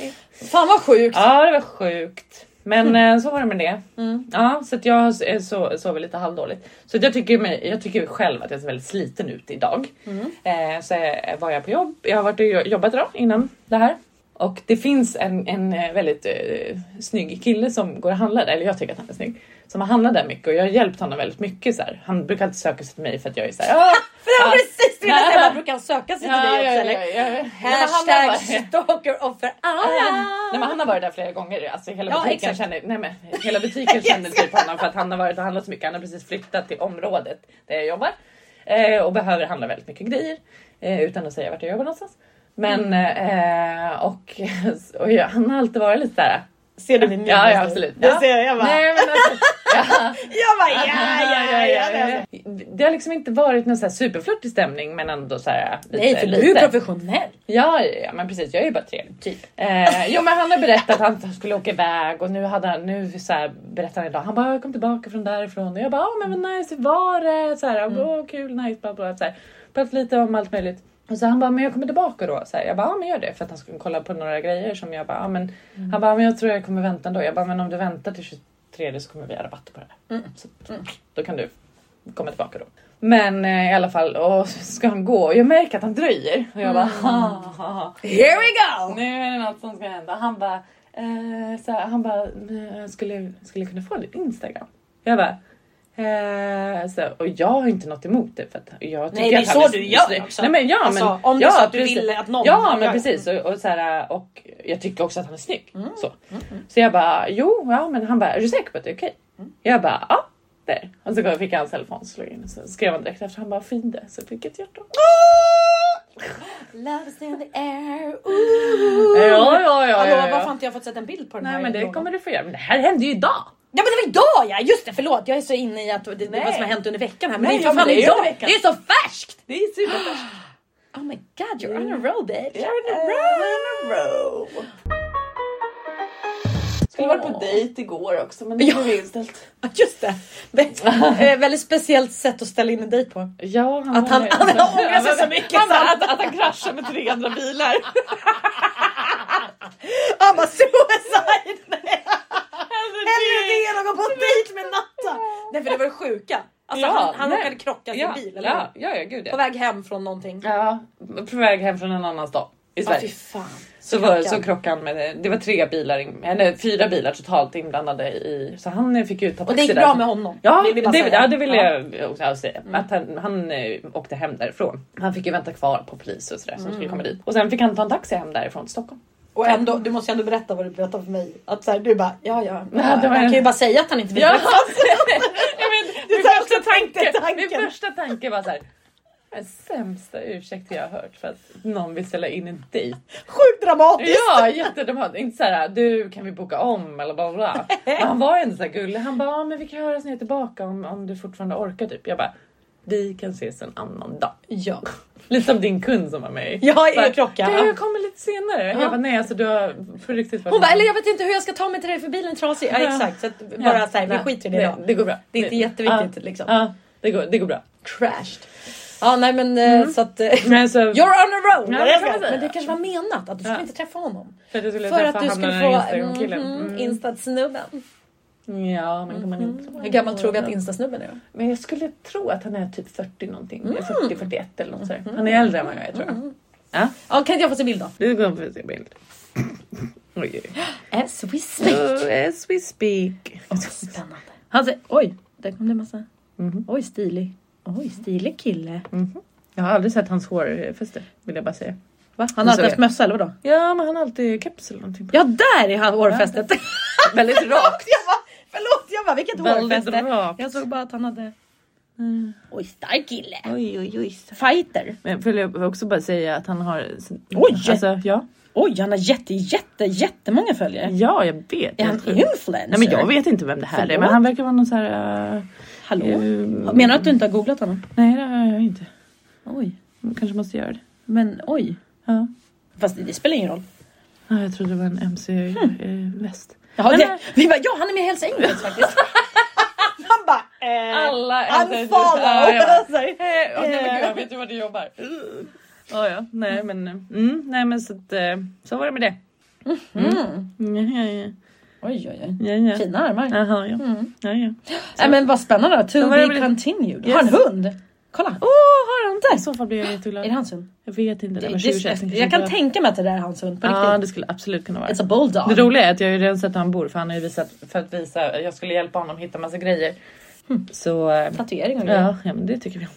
nej. Fan vad sjukt! Ja, det var sjukt. Men eh, så var det med det. Mm. Ja, så att jag eh, so- sover lite halvdåligt. Så att jag tycker, mig, jag tycker själv att jag ser väldigt sliten ut idag. Mm. Eh, så eh, var jag på jobb. Jag har varit och jo- jobbat idag innan det här. Och det finns en, en eh, väldigt eh, snygg kille som går och handlar där, eller jag tycker att han är snygg. Som har handlat där mycket och jag har hjälpt honom väldigt mycket. Så här. Han brukar alltid söka sig till mig för att jag är så här. "Ah, För det var Ja. precis det jag säga, man brukar söka sig till Ja, dig också ja, eller? ja, ja, ja. Men han Hashtag har- stalker offer alla! Eh, Nej, men han har varit där flera gånger. Alltså, hela, Ah! Ja, butiken exakt. känner, nej, men, hela butiken känner typ honom för att han har varit och handlat så mycket. Han har precis flyttat till området där jag jobbar eh, och behöver handla väldigt mycket grejer eh, utan att säga vart jag jobbar någonstans. Men Mm. eh, och, och jag, han har alltid varit lite såhär. Ser du min min Ja, ja just nu? absolut. Det Ja. ser jag, jag bara. Nej, men alltså, ja. Jag bara ja, ja, ja. ja, ja, Det har liksom inte varit någon så här superflörtig stämning men ändå så här. lite- Nej för du är ju lite. professionell. Ja, ja, ja, men precis. Jag är ju bara trevlig. Typ. Eh, jo, men han har berättat att han skulle åka iväg och nu, hade han, nu så här, berättar han idag. Han bara, jag kom tillbaka från därifrån och jag bara, "Ah, men vad nice hur var det? Så här, Åh, kul, nice, bla bla. Så här, pratat lite om allt möjligt. Och så han bara, men jag kommer tillbaka då. Så här, jag bara, ja men gör det. För att han skulle kolla på några grejer som jag bara, ja men. Han bara, men jag tror jag kommer vänta ändå. Jag bara, men om du väntar till 23 så kommer vi ha rabatt på det här. Så, då kan du komma tillbaka då. Men eh, i alla fall, och så ska han gå och jag märker att han dröjer. Och jag bara, ha, ha, ha. Here we go! Nu är det något som ska hända. Han bara, eh, så här, han bara, eh, skulle, skulle jag kunna få ditt Instagram? Jag bara, eh, så, här, och jag har inte något emot det. För att jag tycker Nej, det är att så han du gör också. Nej, men, ja, Alltså, men, om det ja, är så att du precis. vill att någon Ja, men gör Mm, det. precis. Och, och, så här, och jag tycker också att han är snygg. Så. så jag bara, jo, ja, men han bara, är du säker på att det är okej? Mm. Jag bara, ja. Där. Och så fick han hans telefon och slog in och så skrev han direkt efter. Han bara fin det. Så fick jag ett Oh! hjärta. Love is in the air. Ja, ja, ja, ja, Hallå ja. varför har inte jag fått sett en bild på den Nej här? men det lådan? kommer du få göra. Men det här hände ju idag. Ja men det idag ja! Just det, förlåt. Jag är så inne i att det, det Nej. vad som har hänt under veckan här. Men Nej, det är ja, ju för men fan det är ju idag! under veckan. Det är så färskt! Det är superfärskt. Oh my god, you're Mm. on a roll bitch! Uh, row. Skulle varit på Åh. dejt igår också men det blev inställt. Ja, Just det! Vä- eh, Väldigt speciellt sätt att ställa in en dejt på. Ja, han Att han- var- han ångrar sig så mycket Han, så han- att, att han kraschar med tre andra bilar. I'm a suicide! Hellre Hellre det än att gå på en dejt med Natta! Nej för det var det sjuka. Alltså Ja, han, han nej. råkade krocka sin Ja, bil. Eller? ja, hur? ja, ja, gud På ja. väg hem från någonting. ja. På väg hem från en annan stad i Ja, Sverige. fy fan. så, var, krockade så krockade han med, det var tre bilar, in- eller fyra bilar totalt inblandade i, så han eh, fick ju ta taxi Och det gick där. bra med honom. Ja, vill vi bara det, säga. ja, det ville Ja. jag också säga. Att han, han eh, åkte hem därifrån. Mm. Han fick ju vänta kvar på polis och sådär som skulle komma dit. Och sen fick han ta en taxi hem därifrån till Stockholm. Och ändå, du måste ju ändå berätta vad du berättade för mig. Att så här, du bara, ja ja. Nej, ja det var han en- kan ju bara säga att han inte vill Ja. träffas. Ja, men, Det är min, så här första jag tänkte tanke, tanken. min första tanke var såhär. Den sämsta ursäkten jag har hört för att någon vill ställa in en dejt. Sjukt dramatiskt! Ja jättedramatiskt. Inte såhär du kan vi boka om eller bla bla. bla. Men han var ändå såhär gullig. Han bara "Ja, men vi kan höras när jag är tillbaka om, om du fortfarande orkar typ. Jag bara vi kan ses en annan dag. Ja, Lite som din kund som var med. ja Så här, er klocka. Du, jag kommer lite senare. Ja. Jag bara, nej alltså du har på riktigt varit Hon bara, eller jag vet inte hur jag ska ta mig till dig för bilen är trasig. Alltså- Ja Ja. exakt, så att Ja. bara så här, vi Nej, skiter i det nej, idag. Det går bra. Det är inte jätteviktigt liksom. Ja, det går, det går bra. Crashed. Ja nej men eh, så att... eh, Men så, You're on a roll! Ja, det kan man säga. men det kanske var menat att du skulle Ja. inte träffa honom. för att du skulle För träffa att du han skulle den få här mm, Instagram-killen. mm, Mm. instasnubben. Mhm. ja, men kan man inte... Hur gammal tror vi att instasnubben är? Men jag skulle tro att han är typ 40 någonting. Mm. 40-41 eller något sådär. Han är äldre än vad jag är tror jag. Ja, kan inte jag få se bild då? Du går på sin bild. Oj, oj. As we speak. Oh, as we speak. Spännande. Han säger, oj, Där kom det en massa. Mhm. Oj stilig. Oj stilig kille. jag har aldrig sett hans hårfäste vill jag bara säga. Va? Han Nu har alltid såg haft mössa eller vadå? Ja, men han har alltid keps eller någonting. Ja där är han hårfästet. Väldigt rakt. jag bara, förlåt jag bara vilket Väldigt hårfäste. rakt. Jag såg bara att han hade. Oj stark kille. Oj, oj, oj. Fighter. Men vill jag också bara säga att han har... Oj! Alltså, ja. Oj han har jätte jätte jättemånga följare. ja, jag vet. Är han Helt sjukt. influencer? Nej men jag vet inte vem det här är Förlåt? men han verkar vara någon sån här... eh, Hallå? eh, Menar du att du inte har googlat honom? Nej det har jag inte. Oj. Jag Kanske måste göra det. Men oj. Ja. Fast det, det spelar ingen roll. Ja, jag trodde det var en Hm. MC-väst. Jaha, Men, det, eh, vi bara, ja han är med i Hells Angels faktiskt. Han bara, eh, Alla unfollow. Ja, nej men gud, jag vet ju var du jobbar. Eh. Ja, ja, nej men, eh, mm, nej, men så, att, eh, så var det med det. Mm. Ja, ja, ja. Oj oj oj. ja, ja. Fina armar. Jaha, ja. Mm. ja, ja. Nej men vad spännande. To Då var det be väl- continued. Yes. Har en hund? Kolla. Åh, har han det? I så fall blir jag Är jätteglad. det hans hund? Jag vet inte, det Det, var det, 2021. jag kan tänka mig att det där är hans hund på Ja, riktigt. det skulle absolut kunna vara. It's a bulldog. Det roliga är att jag har ju redan sett att han bor för han har ju visat för att visa. Jag skulle hjälpa honom hitta massa grejer. Så eh, Tatuering och grejer. ja, ja, men det tycker vi om.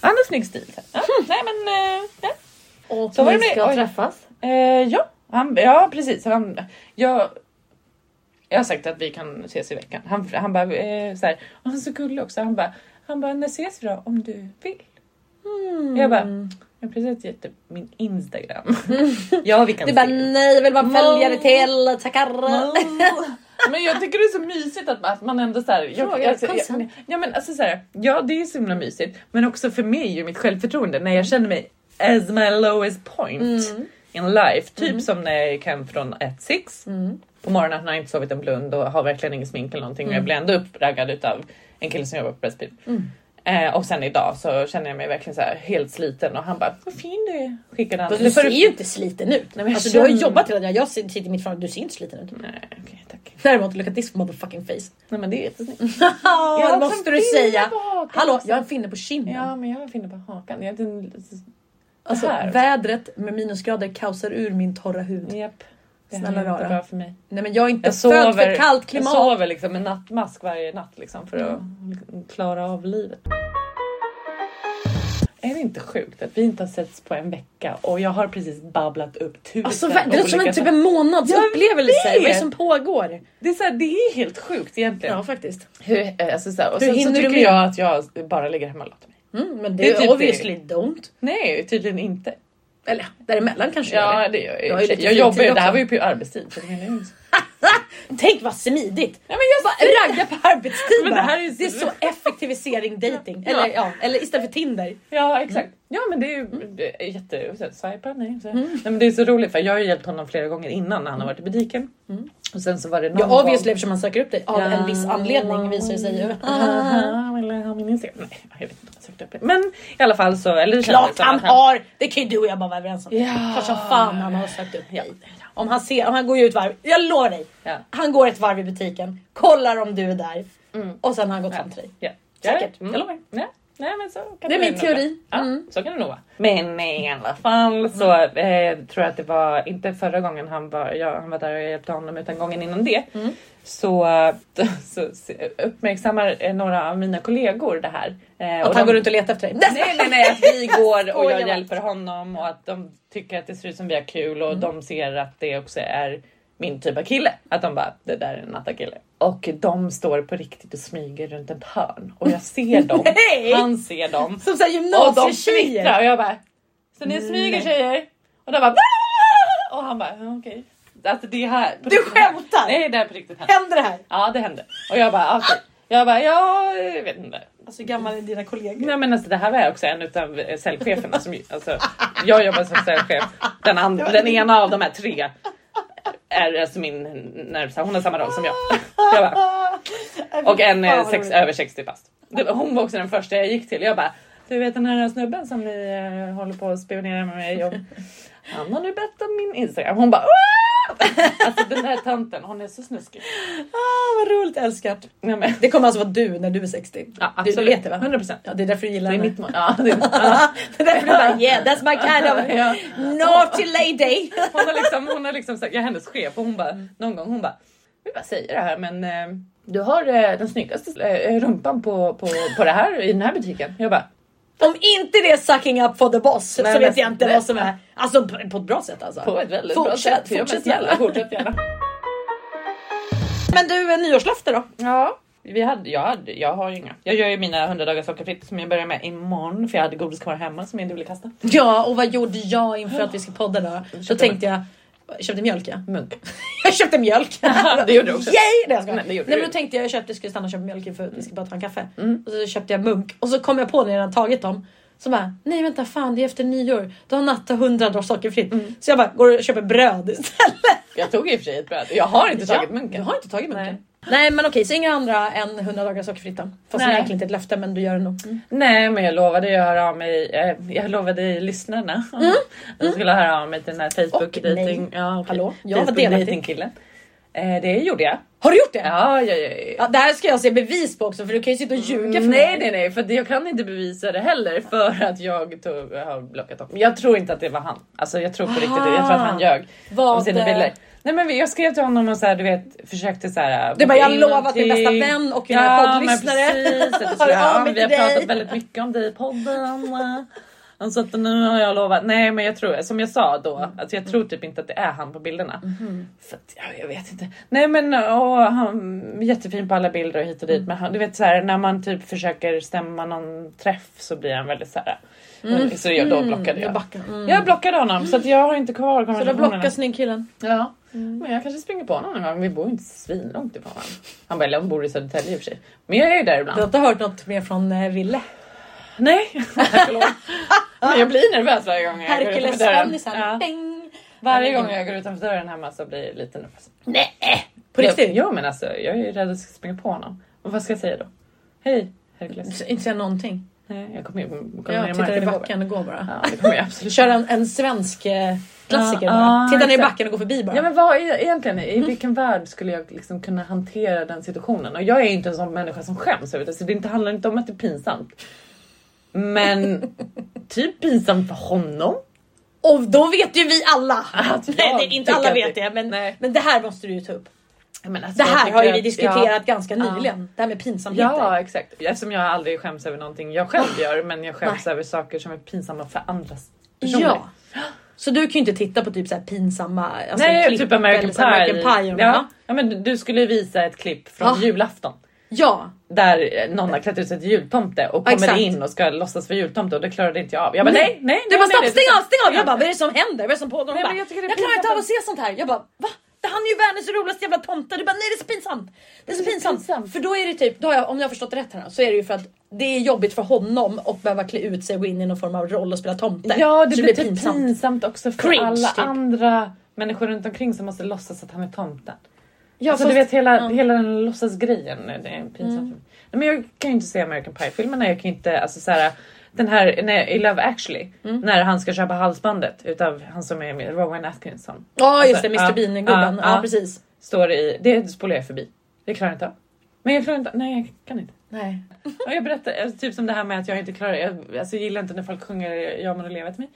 Han har snygg stil. Ja, nej men eh, ja. Och Så var ni det med- ska oj. träffas. Eh, ja, han, ja precis. Han, jag, jag har sagt att vi kan ses i veckan. Han, han bara eh, så här, och han är så gullig också. Han bara, han bara när ses vi då om du vill? Mm. Jag bara, jag har precis gett upp min Instagram. ja vi kan Du bara ses. nej, jag vill vara No. följare till, tackar. Men jag tycker det är så mysigt att, att man ändå såhär... Frågar Jag, jag, kom sen. jag, ja men alltså såhär, ja det är så himla mysigt. Men också för mig är ju mitt självförtroende när jag känner mig as my lowest Mm. point in life. Typ som när jag gick hem från 1-6 på morgonen när jag inte sovit en blund och har verkligen ingen smink eller någonting Mm. och jag blir ändå uppraggad utav en kille som jobbar på Pressbyrån. Eh, och sen idag så känner jag mig verkligen så här helt sliten och han bara vad fin du är. Skickade han. Fast Det Alltså, du får mm. ser ju inte sliten ut. Nej, men jag alltså, du har ju känner- jobbat hela dagen. Jag ser- sitter mitt framför du ser inte sliten ut. Nej okej tack. Däremot, look at this motherfucking face. Nej men det är jättesnyggt. Ja, det Jag måste kan du finna säga. bakom. Hallå, jag har en finne på kinden. Ja, men jag finner på hakan. Jag, den, alltså, här. vädret med minusgrader kaosar ur min torra hud. japp. Det Snälla här är rara. inte bra för mig. Nej men jag är inte Jag född sover, för kallt klimat. jag sover liksom med nattmask varje natt liksom för att liksom klara av livet. Är det inte sjukt att vi inte har setts på en vecka och jag har precis babblat upp tusen Alltså, va- det låter som olika en typ saker. en månads Jag upplevelse. Vad är det vet. som pågår? Det är, så här, det är helt sjukt egentligen. Ja faktiskt. Hur, eh, alltså, så här, och Hur sen så hinner du tycker med? jag att jag bara ligger hemma och låter mig. Mm, men det, Det är typ det. obviously don't. Nej, tydligen inte. Eller däremellan kanske jag gör Ja, det. det gör Jag jag. har ju Jag, lite jag jobbar fritid ju. Det här också. var ju på arbetstid. Så det menar jag inte. Tänk vad smidigt! Nej, men jag, Bara Ragga på arbetstid Men bara. det här är ju så- det är så effektivisering dating. Eller, ja. eller istället för Tinder. ja exakt. Mm. Ja men det är ju det är jätte... så här, Swipa, nej, så här. nej men det är så roligt för jag har ju hjälpt honom flera gånger innan när han har varit i butiken. Och sen så var det någon Mm. Ja gång- obviously eftersom man söker upp dig av Ja. en viss anledning visar det sig ju. Aha, vill jag ha min Instagram? Nej, jag vet inte. Jag sökte upp det. Men i alla fall så... Eller det kändes Klart som han att har! Det kan ju du och jag bara vara överens om. Ja. Klart som fan han har sökt upp dig. Om han, ser, om han går ju ett varv, jag lovar dig. Ja. Han går ett varv i butiken, kollar om du är där Mm. och sen har han gått fram till dig. Ja. Säkert, Mm. jag lovar. Ja. Nej, men så kan Det är nog min vara. teori. Ja, Mm. Så kan det nog vara. Men i alla fall så eh, tror jag att det var inte förra gången han var, jag, han var där och jag hjälpte honom utan gången innan det. Så, eh, så, se- uppmärksammar eh, några av mina kollegor det här. Eh, Att och han de- går runt och letar efter dig. Nej, nej, nej, att vi går och Skojar jag bara. hjälper honom och att de tycker att det ser ut som vi har kul och de ser att det också är min typ av kille. Att de bara, det där är en nattakille. Och de står på riktigt och smyger runt ett hörn och jag ser dem. Nej! Han ser dem. Som såhär Och de gymnasietjejer. twittrar och jag bara, så ni smyger Nej. tjejer? Och de bara, och han bara, ja, okej. Alltså det här. Du skämtar? Nej, det här är på riktigt hänt. Händer det här? Ja, det hände. Och jag bara, okej. Jag bara, ja, jag vet inte. Alltså hur gammal är dina kollegor? Nej men alltså det här var också en utav eh, säljcheferna som ju- alltså, jag jobbar som säljchef. Den, and, den ena av de här tre är alltså min närmsta, hon har samma roll som jag. jag bara, och en eh, sex, över 60 bast. Det var- Hon var också den första jag gick till. Jag bara, du vet den här snubben som ni eh, håller på att spionera med mig om. Han har nu bett om min Instagram. Hon bara, "Åh!" alltså den där tanten, hon är så snuskig. Ah, vad roligt älskat. Nej, men, Det kommer alltså vara du när du är 60. ja, du, absolut, du vet det va? 100 procent. Ja, det är därför du gillar Det är henne. mitt mål. Ja, det är, ja. det är därför du bara yeah that's my kind of Ja. naughty lady. Hon har liksom, hon har liksom sagt, jag är hennes chef och hon bara någon gång hon bara, vi bara säger det här men eh, du har eh, den snyggaste eh, rumpan på, på, på det här i den här butiken. Jag bara, Om inte det är sucking up for the boss Nej, så men- vet jag inte nej. vad som är. Alltså på, på ett bra sätt alltså. på ett väldigt Fortsätt, bra sätt. Ja, men fortsätt snälla, gärna. Fortsätt gärna. Men du, eh, nyårslöfte då? Ja, vi hade, jag, hade, jag har ju inga. Jag gör ju mina 100 dagar sockerfritt som jag börjar med imorgon för jag hade godis kvar hemma som jag inte ville kasta. Ja, och vad gjorde jag inför att vi ska podda då? Då Köpte tänkte jag, jag köpte mjölk ja. Munk. Jag köpte mjölk! det gjorde du också. Yay! Nej, jag skojar. Nej, det Mm. gjorde Nej du. men då tänkte jag jag köpte, skulle stanna och köpa mjölk för att vi ska bara ta en kaffe. Och så köpte jag munk och så kom jag på när jag redan tagit dem. Så bara, nej vänta fan det är efter nyår. Då har Natta 100 dagar sockerfritt. Mm. Så jag bara går och köper bröd istället. Jag tog i och för sig ett bröd. Jag har inte tagit Ja, munken. Du har inte tagit munken? Nej. Nej. men okej, så inga andra än 100 dagar sockerfritt då? Fast det är Nej. egentligen inte ett löfte men du gör det nog. Nej, men jag lovade ju höra av mig. eh, Jag lovade lyssnarna. Jag skulle höra av mig till den här Facebook dating. Mm. nej. Ja, okay. Hallå, jag var Facebook delaktig. dating killen. Eh, det gjorde jag. Har du gjort det? Ja, ja, ja. ja. Ja, det här ska jag se bevis på också för du kan ju sitta och ljuga för Nej, mig. nej, nej, för det- jag kan inte bevisa det heller för att jag tog, har blockat honom. Jag tror inte att det var han. Alltså, jag tror på riktigt det. Jag tror Ah. att han ljög om Vad... eh, sina bilder. Nej, men jag skrev till honom och så här, du vet, försökte så här. Du bara, boka jag in lovar att min bästa någonting. vän och mina Ja, men poddlyssnare. precis. Att det Hör skulle- av ja, mig vi har till dig. pratat väldigt mycket om dig i podden. Och Så att nu har jag lovat. Nej men jag tror, som jag sa då, Mm. alltså jag tror typ inte att det är han på bilderna. Mm-hmm. För att, ja, jag vet inte. Nej men och han är jättefin på alla bilder och hit och dit. Mm. Men han, du vet så här, när man typ försöker stämma någon träff så blir han väldigt så här. Mm. Så jag, då blockade jag. Jag backar. Mm. Jag blockade honom så att jag har inte Så kvar då konversationerna. blockar snyggkillen. Ja. Mm. Men jag kanske springer på honom någon gång. Vi bor ju inte svinlångt ifrån varandra. Han bara, eller hon bor i Södertälje i och för sig. Men jag är ju där ibland. Du har inte hört något mer från eh, Ville? Nej, förlåt. Men jag blir nervös varje gång jag går utanför Herkules dörren. Fennis här. Ja. Ding! Varje gång jag går utanför dörren hemma så blir jag lite nervös. Nej! På riktigt? Jo men alltså jag är ju rädd att jag ska springa på honom. Och vad ska jag säga då? Hej Herkules. Så Inte säga någonting. Nej, jag kommer ju kommer ner Jag Mm. tittar marken i och går backen och går bara. bara. Ja det kommer jag absolut. Kör en, en svensk eh, klassiker Ja, bara. ja, Titta ner i exakt. backen och gå förbi bara. Ja men vad är egentligen, i Mm. vilken värld skulle jag liksom kunna hantera den situationen? Och jag är ju inte en sån människa som skäms över det, så det inte handlar inte om att det är pinsamt. Men typ pinsamt för honom. Och då vet ju vi alla. Att jag Nej, det, inte tycker alla att vet det- det, men, Nej. men det här måste du ju ta upp. Men alltså, Det jag här tycker har ju vi att- diskuterat Ja. ganska Ja. nyligen. Det här med pinsamheter. Ja exakt, eftersom jag aldrig skäms över någonting jag Ah, själv gör men jag skäms över saker som är pinsamma för andra personer. Ja. Så du kan ju inte titta på typ så här pinsamma alltså Nej, klipp typ American eller Pie. så här American Pie Ah. och de här. ja. ja men du skulle visa ett klipp från Ja. julafton. ja. där någon har klätt ut sig till jultomte och kommer Exakt. in och ska låtsas vara jultomte och det klarade inte jag av. Jag bara nej, nej, nej Du bara stopp, nej, stäng av, stäng av! Ja. Jag bara vad är det som händer? Vad är det som pågår? Hon Nej, men bara, jag tycker det är jag klarar inte pinsamt av att se sånt här. Jag bara va? Det han är ju världens roligaste jävla tomte. Du bara nej det är så pinsamt. Det är så pinsamt. pinsamt. För då är det typ, då har jag, om jag har förstått det rätt här nu, så är det ju för att det är jobbigt för honom att behöva klä ut sig och gå in i någon form av roll och spela tomte. Ja, det Så blir typ pinsamt. också för Cringe, alla typ. andra människor runt omkring som måste låtsas att han är tomten. Ja, alltså fast- du vet hela, ja. Mm. hela den låtsasgrejen. Det är pinsamt. för mig. Nej, men jag kan ju inte se American Pie-filmerna. Jag kan ju inte, alltså så här, den här när, i Love actually, Mm. när han ska köpa halsbandet utav han som är med, Rowan Atkinson. Ja just det, Mr Alltså, ja, Bean-gubben. ja, Ja, ja. precis. Står i, det spolar jag förbi. Det klarar jag inte av. Men jag klarar inte Nej, jag kan inte. Nej. Och jag berättar, alltså, typ som det här med att jag inte klarar, jag alltså, jag gillar inte när folk sjunger Ja men och lever till mig.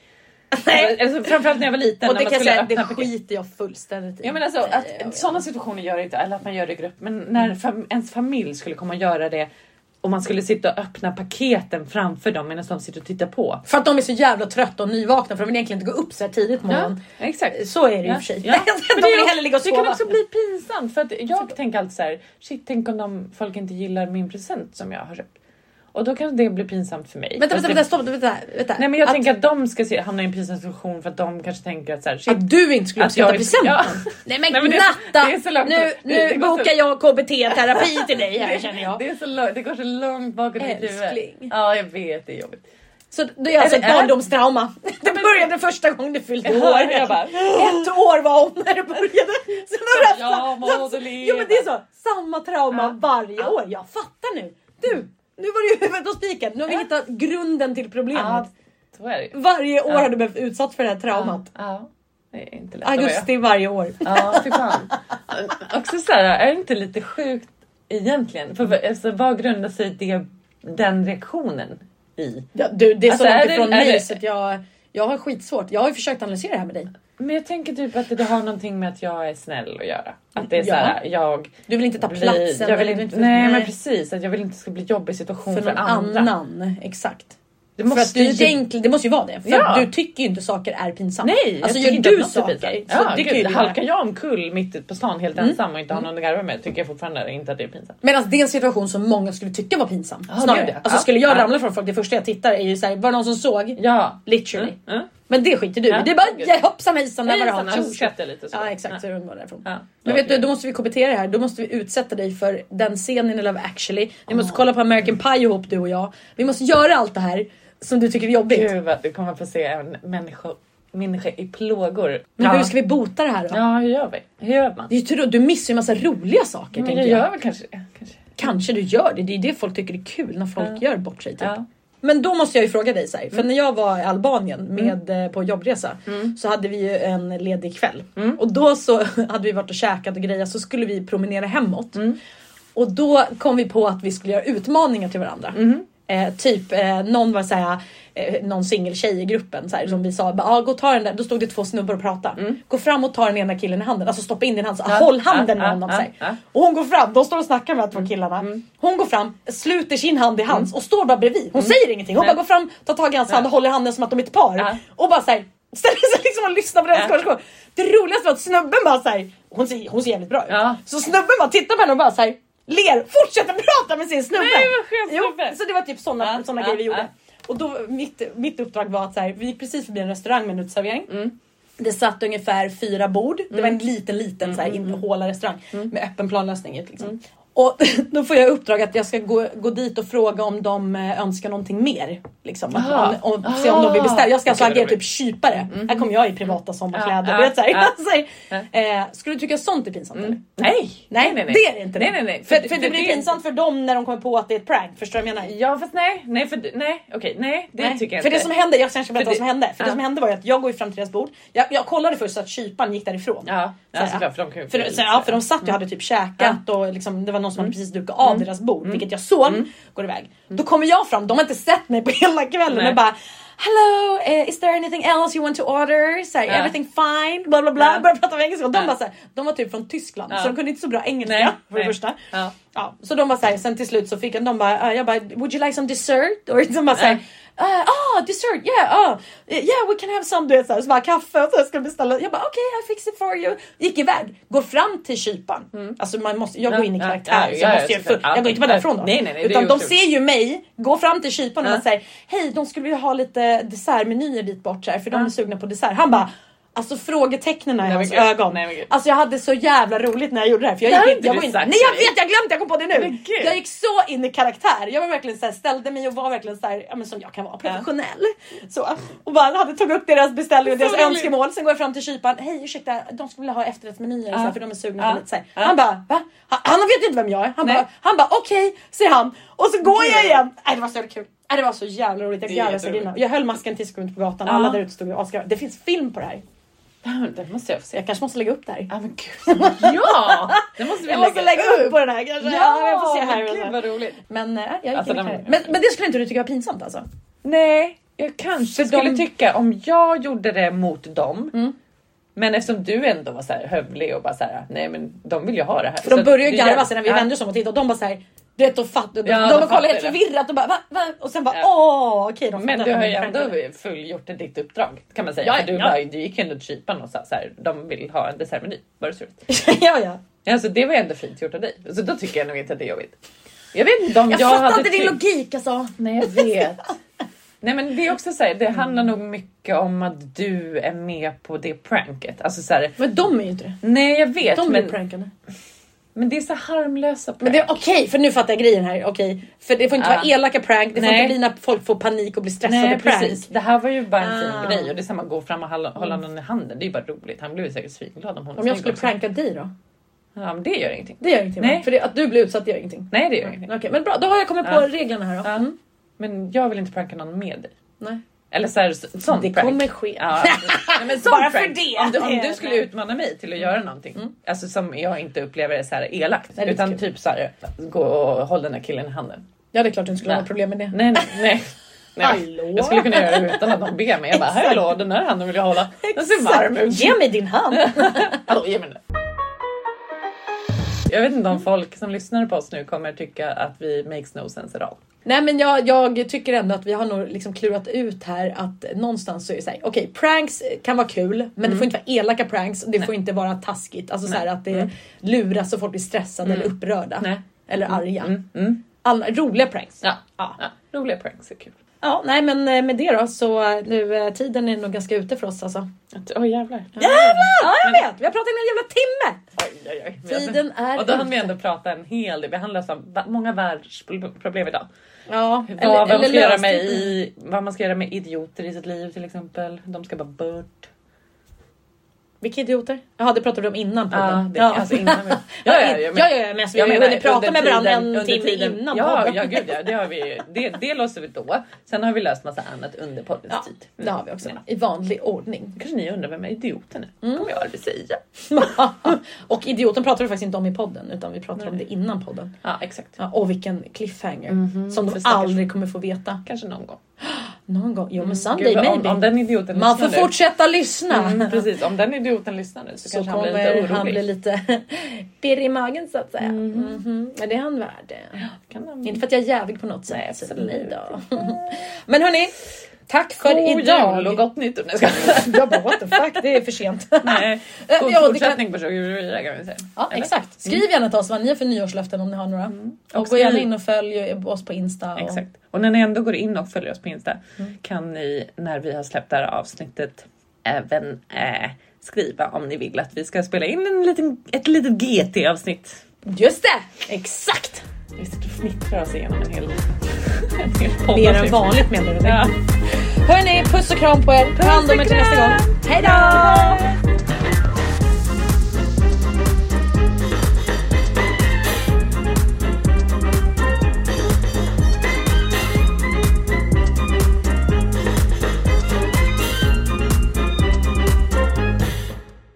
Nej. Alltså, framförallt när jag var liten. Och när det kan man jag skulle säga, det öppna paket. skiter jag fullständigt i. Ja, men alltså, Nej, jag att, vet. Mm. sådana situationer gör jag inte, eller att man gör det i grupp. Men när fam ens familj skulle komma och göra det och man skulle sitta och öppna paketen framför dem medan de sitter och tittar på. För att de är så jävla trötta och nyvakna för de vill egentligen inte gå upp så här tidigt på morgonen. Mm. exakt. Så är det ju i och Ja, för sig. ja. Men De det är vill också- hellre ligga och Det kan sova. Typ. också bli pinsamt för att jag tänker alltid så här, shit tänk om de, folk inte gillar min present som jag har köpt. Och då kan det bli pinsamt för mig. Vänta, Fast vänta, det- vänta, stopp, vänta, vänta. Nej men jag att, tänker att de ska se, hamna i en pinsam situation för att de kanske tänker att så här, shit, att du inte skulle att jag uppskatta är- presenten. Ja. Nej men, Nej, men det är så- Natta! det är så långt- nu det- det nu går så- bokar jag KBT-terapi till dig här känner jag. Det, är så långt, det går så långt bakåt i Älskling. huvudet. Ja jag vet, det är jobbigt. Så det är alltså ett Eller är- barndomstrauma. Det började första gången du fyllde Jag år. hör det, jag bara- Ett år var hon när det började. Sen har du Ja, haft- må du Alltså, Jo men det är så, samma trauma Ja. varje Ja. år. Jag fattar nu. Du, nu var det ju huvudet och spiken. Nu har vi Ja. hittat grunden till problemet. Ja, så är det. Varje år Ja. har du behövt utsatt för det här traumat. Ja, det är inte lätt att vara. Augusti varje år. Ja, fy fan. Också så här, är det inte lite sjukt egentligen? För vad- alltså, vad grundar sig det, den reaktionen i? Ja, du, det är Alltså, så är långt det- ifrån är mig det- så att jag, jag har skitsvårt. Jag har ju försökt analysera det här med dig. Men jag tänker typ att det har någonting med att jag är snäll att göra. Att det är så här, jag Du vill inte ta blir- platsen. Jag vill eller du inte, vill nej, men precis. Att jag vill inte ska bli jobbig situation För för, någon andra. annan. Exakt. Det För att du ju typ- egentligen, det måste ju vara det. För Ja. du tycker ju inte saker är pinsamma. Nej, alltså jag gör tycker Alltså, inte du att något är saker pinsamt. så Ja, det Mm. kan ju gud, du göra. halkar jag omkull mitt ute på stan helt ensam och inte har någon att garva med tycker jag fortfarande inte att det är pinsamt. Medan det är en situation som många skulle tycka var pinsam. Ja, snarare. det är det. Alltså Ja. skulle jag Ja. ramla från folk, det första jag tittar är ju såhär, var det någon som såg? Ja. Literally. Mm. Mm. Men det skiter du i. Ja. Det är bara ja, hoppsan hejsan, där var det Hejsan, han. och så köpte jag lite så. Ja exakt, så är det bara därifrån. Ja. Men vet du, då måste vi KBT det här. Då måste vi utsätta dig för den scenen i Love actually. Vi måste kolla på American Pie ihop du och jag. Vi måste göra allt det här som du tycker är jobbigt. Gud vad du kommer få se en människa, människa i plågor. Men ja. hur ska vi bota det här då? Ja, hur gör vi? Hur gör man? Det är ju tur att du missar ju en massa roliga saker Men tänker jag jag. gör väl kanske det. Kanske. Kanske du gör det. Det är ju det folk tycker är kul när folk Ja. gör bort sig. Typ. Ja. Men då måste jag ju fråga dig så Mm. här, för när jag var i Albanien med, eh, på jobbresa så hade vi ju en ledig kväll Mm. och då så hade vi varit och käkat och grejat så skulle vi promenera hemåt Mm. och då kom vi på att vi skulle göra utmaningar till varandra. Mm. Eh, typ eh, någon var såhär, eh, någon singeltjej i gruppen såhär, Mm. som vi sa, bara, ah, gå och ta den där. Då stod det två snubbar och pratade. Gå fram och ta den ena killen i handen, alltså stoppa in din hand, så, Ja, håll handen ja, med ja, honom. ja, så här. ja. Och hon går fram, de står och snackar med Mm. de här två killarna. Hon går fram, sluter sin hand i hans och står bara bredvid. Hon säger ingenting. Hon Mm. Nej. bara går fram, tar tag i hans hand och håller handen som att de är ett par. Ja. Och bara såhär ställer sig liksom och lyssnar på deras Ja. konversation. Det roligaste var att snubben bara såhär, hon ser, hon ser jävligt bra ut. Ja. Så snubben bara tittar på henne och bara såhär ler, fortsätter prata med sin snubbe. Nej, vad skönt, snubbe. jo, så det var typ sådana Ja, såna ja, grejer vi gjorde. ja. Och då, mitt, mitt uppdrag var att så här, vi gick precis förbi en restaurang med en uteservering. Mm. Det satt ungefär fyra bord. Det var en liten liten så här, Mm, in, håla restaurang med öppen planlösning. ut, Liksom. Och då får jag i uppdrag att jag ska gå, gå dit och fråga om de eh, önskar någonting mer. Liksom. Att Aha. Om, Ah. om, se om de vill beställa. Jag ska alltså Okej, agera roligt. Mm. typ kypare. Här kommer jag i privata sommarkläder. Ja, du vet, så här. ja, Mm. Så här. Eh, skulle du tycka sånt är pinsamt eller? Nej. Nej, nej, nej. det är det inte. Nej, nej, nej. För, för, det blir pinsamt för dem när de kommer på att det är ett prank. Förstår du vad jag menar? Ja fast nej, nej, för, nej okej, nej det Nej, tycker jag för inte. det som hände, jag kanske ska berätta För vad det- som hände. För det ja. som hände var ju att jag går ju fram till deras bord. Jag, jag kollade först så att kyparen gick därifrån. Ja, ja Såhär, såklart för de kan ju För, få så, i ja, sig. för de satt ju och hade typ käkat och liksom, det var någon som Mm. hade precis dukat av deras bord, vilket jag såg går iväg. Då kommer jag fram, de har inte sett mig på hela kvällen Nej. och bara Hello, eh, is there anything else you want to order? Så här, Ja. Everything fine? Bla bla bla. Ja. Började prata med engelska. Och de, Ja. bara, så här, de var typ från Tyskland Ja. så de kunde inte så bra engelska Nej, för nej. det första. Ja. Ja, så de var såhär, sen till slut så fick jag, de bara, eh, jag bara, would you like some dessert? Och de bara såhär, Nej. eh, ah dessert, yeah, ah, yeah we can have some, du vet såhär, så bara kaffe och så jag skulle beställa. Jag bara okej, I fix it for you. Gick iväg, går fram till kyparen. Alltså man måste, jag går in i Mm. Ja, karaktär, ja, så jag, ja, måste ju, såklart. jag går inte bara Ja, därifrån då. nej, nej, nej, det är Utan de otroligt. ser ju mig, går fram till kyparen och Ja. man säger, hej de skulle vilja ha lite dessertmenyer dit bort så här, för de är sugna på dessert. Han bara Alltså frågetecknen i men hans gud. ögon. Nej, men gud. Alltså jag hade så jävla roligt när jag gjorde det här. För jag Det här gick har in, inte jag du var in, sagt nej jag till mig. vet, jag glömde, jag kom på det Men nu. gud. Jag gick så in i karaktär. Jag var verkligen så här, ställde mig och var verkligen så här, ja, men som jag kan vara, professionell. Så, och bara hade tog upp deras beställning och Så deras roligt. önskemål. Sen går jag fram till kyparen, hej ursäkta, de skulle vilja ha efterrättsmenyer så här, Ja. för de är sugna på Ja. lite så här. Ja. Han bara, va? Han, han vet ju inte vem jag är. Han Nej. bara, han bara okej, säger han. Och så går jag Gud. igen. Nej, det var så jävla kul. Nej, det var så jävla roligt. Jag Det är garvade så jätteroligt. grymma. Jag höll masken tills jag kom ut på gatan. Ja. Alla där ute stod och asgarvade. Det finns film på det här. Det måste jag få Så se. jag kanske måste lägga upp det här. Ja men gud. Ja! Det måste vi Jag måste lägga upp på den här kanske. Ja, Ja, jag får se här. men gud Men, vad roligt. men, eh, jag Alltså, gick in i den- det här. men, men det skulle inte du tycka var pinsamt alltså? Nej, jag kanske För de- skulle tycka om jag gjorde det mot dem. Mm. Men eftersom du ändå var så här hövlig och bara så här, nej men de vill ju ha det här. För de Så började ju det gör- garva sen när vi Ja. vände oss om och tittade och de bara såhär du vet, de fattar, de, Ja, de, de de kollar fattar helt det. förvirrat och bara va, va? Och sen bara Ja. åh okej. de Men fattar du att har de ju är ändå skämtade. fullgjort ditt uppdrag kan man säga. Ja, För du, ja. bara, du gick ju ändå till kyparen och sa så här, de vill ha en dessertmeny. Var det så? ja, ja. Alltså det var ju ändå fint gjort av dig. Så då tycker jag nog inte att det är jobbigt. Jag vet inte om jag, Jag, fattar hade inte din tyckt- logik alltså. Nej jag vet. Nej men det är också så här, det handlar nog mycket om att du är med på det pranket. Alltså så här, Men de är ju inte det. nej jag vet De blir men, prankade. men det är så harmlösa prank. Men det är okej, för nu fattar jag grejen här. Okej, för det får inte Ja. vara elaka prank. Det får Nej. inte bli när folk får panik och blir stressade Nej prank. precis, det här var ju bara en Ah. fin grej och det är samma gå fram och hålla, hålla någon i handen. Det är ju bara roligt. Han blev ju säkert svinglad om hon är Om jag snygg skulle också. pranka dig då? Ja men det gör ingenting. Det gör ingenting Nej. va? För det, att du blir utsatt gör ingenting. Nej det gör ingenting. Mm, Okej men bra, då har jag kommit på Ja. reglerna här då. Ja. Mm. Men jag vill inte pranka någon med dig. Nej. Eller så här, så- sån Det prank. kommer ske. Ja, nej, men sån Bara för prank. det. Om du, om Det- du skulle utmana mig till att göra någonting alltså som jag inte upplever är så här elakt Nej, det är utan inte typ så här gå och håll den här killen i handen. Ja det är klart du inte skulle ha Nej. något problem med det. Nej, nej, nej. nej. Hallå? Jag skulle kunna göra det utan att de ber mig. Jag bara Exakt. hallå den här handen vill jag hålla. Den ser varm ut. Ge mig din hand. Hallå, ge mig den. Jag vet inte om folk som lyssnar på oss nu kommer tycka att vi makes no sense at all. Nej men jag, jag tycker ändå att vi har nog liksom klurat ut här att någonstans så är det såhär, okej pranks kan vara kul men det Mm. får inte vara elaka pranks och det får inte vara taskigt. Alltså såhär att det luras så folk blir stressade eller upprörda. Mm. Nej. Eller arga. Mm, mm. Alla, roliga pranks. Ja. Ja. Ja, roliga pranks är kul. ja, nej men eh, med det då så eh, nu eh, tiden är nog ganska ute för oss alltså. Att- Åh jävlar. Jävlar! Ja, jag vet! Vi har pratat en hel jävla timme! Oj, oj, oj. Vi- Tiden är Och då hann vi ändå prata en hel del. Vi hann lösa va- många världsproblem idag. Ja, Vad, vad, man ska göra löst- med i, vad man ska göra med idioter i sitt liv till exempel. De ska bara bort. Vilka idioter? Jaha, det pratade vi om innan Ja, podden. det, alltså innan vi, ja, Ja, ja, ja, jag men- ja, ja, men alltså, vi har jag ju menar, hunnit prata under med varandra tiden- en under timme tiden- innan ja, podden. Ja, gud ja. Det, har vi, det, det låser vi då. Sen har vi löst massa annat under poddens Ja, tid. det har vi också. Ja. I vanlig ordning. Kanske ni undrar vem är idioten är? Mm. kommer jag aldrig säga. och idioten pratar vi faktiskt inte om i podden utan vi pratar om Nej. det innan podden. Ja, exakt. Ja, och vilken cliffhanger som för de stackars- aldrig kommer få veta. Kanske någon gång. Mm. Någon gång. Jo men someday Gud, om, maybe. om den idioten Man får lyssnar nu- fortsätta lyssna. Mm, precis, om den idioten lyssnar nu så, Så kanske kommer han blir lite orolig. han bli lite pirr i magen så att säga. Mhm. Men det är han värd. Kan han... Mm. Inte för att jag är jävig på något sätt. Nej, absolut Nej då. Men hörni, tack för God idag. jul och gott nytt år! Nej, jag skojar. Jag bara what the fuck, det är för sent. Nej, Ja, god det kan- fortsättning på 2024 kan vi säga. Ja Eller? Mm. exakt. Skriv gärna till oss vad ni har för nyårslöften om ni har några. Och, gå skriv- gärna in och följ oss på Insta. Och... Exakt. Och när ni ändå går in och följer oss på Insta kan ni när vi har släppt det här avsnittet även eh, skriva om ni vill att vi ska spela in en liten, ett litet GT-avsnitt. Just det! Exakt! Vi sitter och fnittrar oss igenom en hel, en hel podd. typ. Mer än vanligt menar du? Ja. Hörni, puss och kram på er. Ta hand om er till nästa gång. Hejdå! Hej!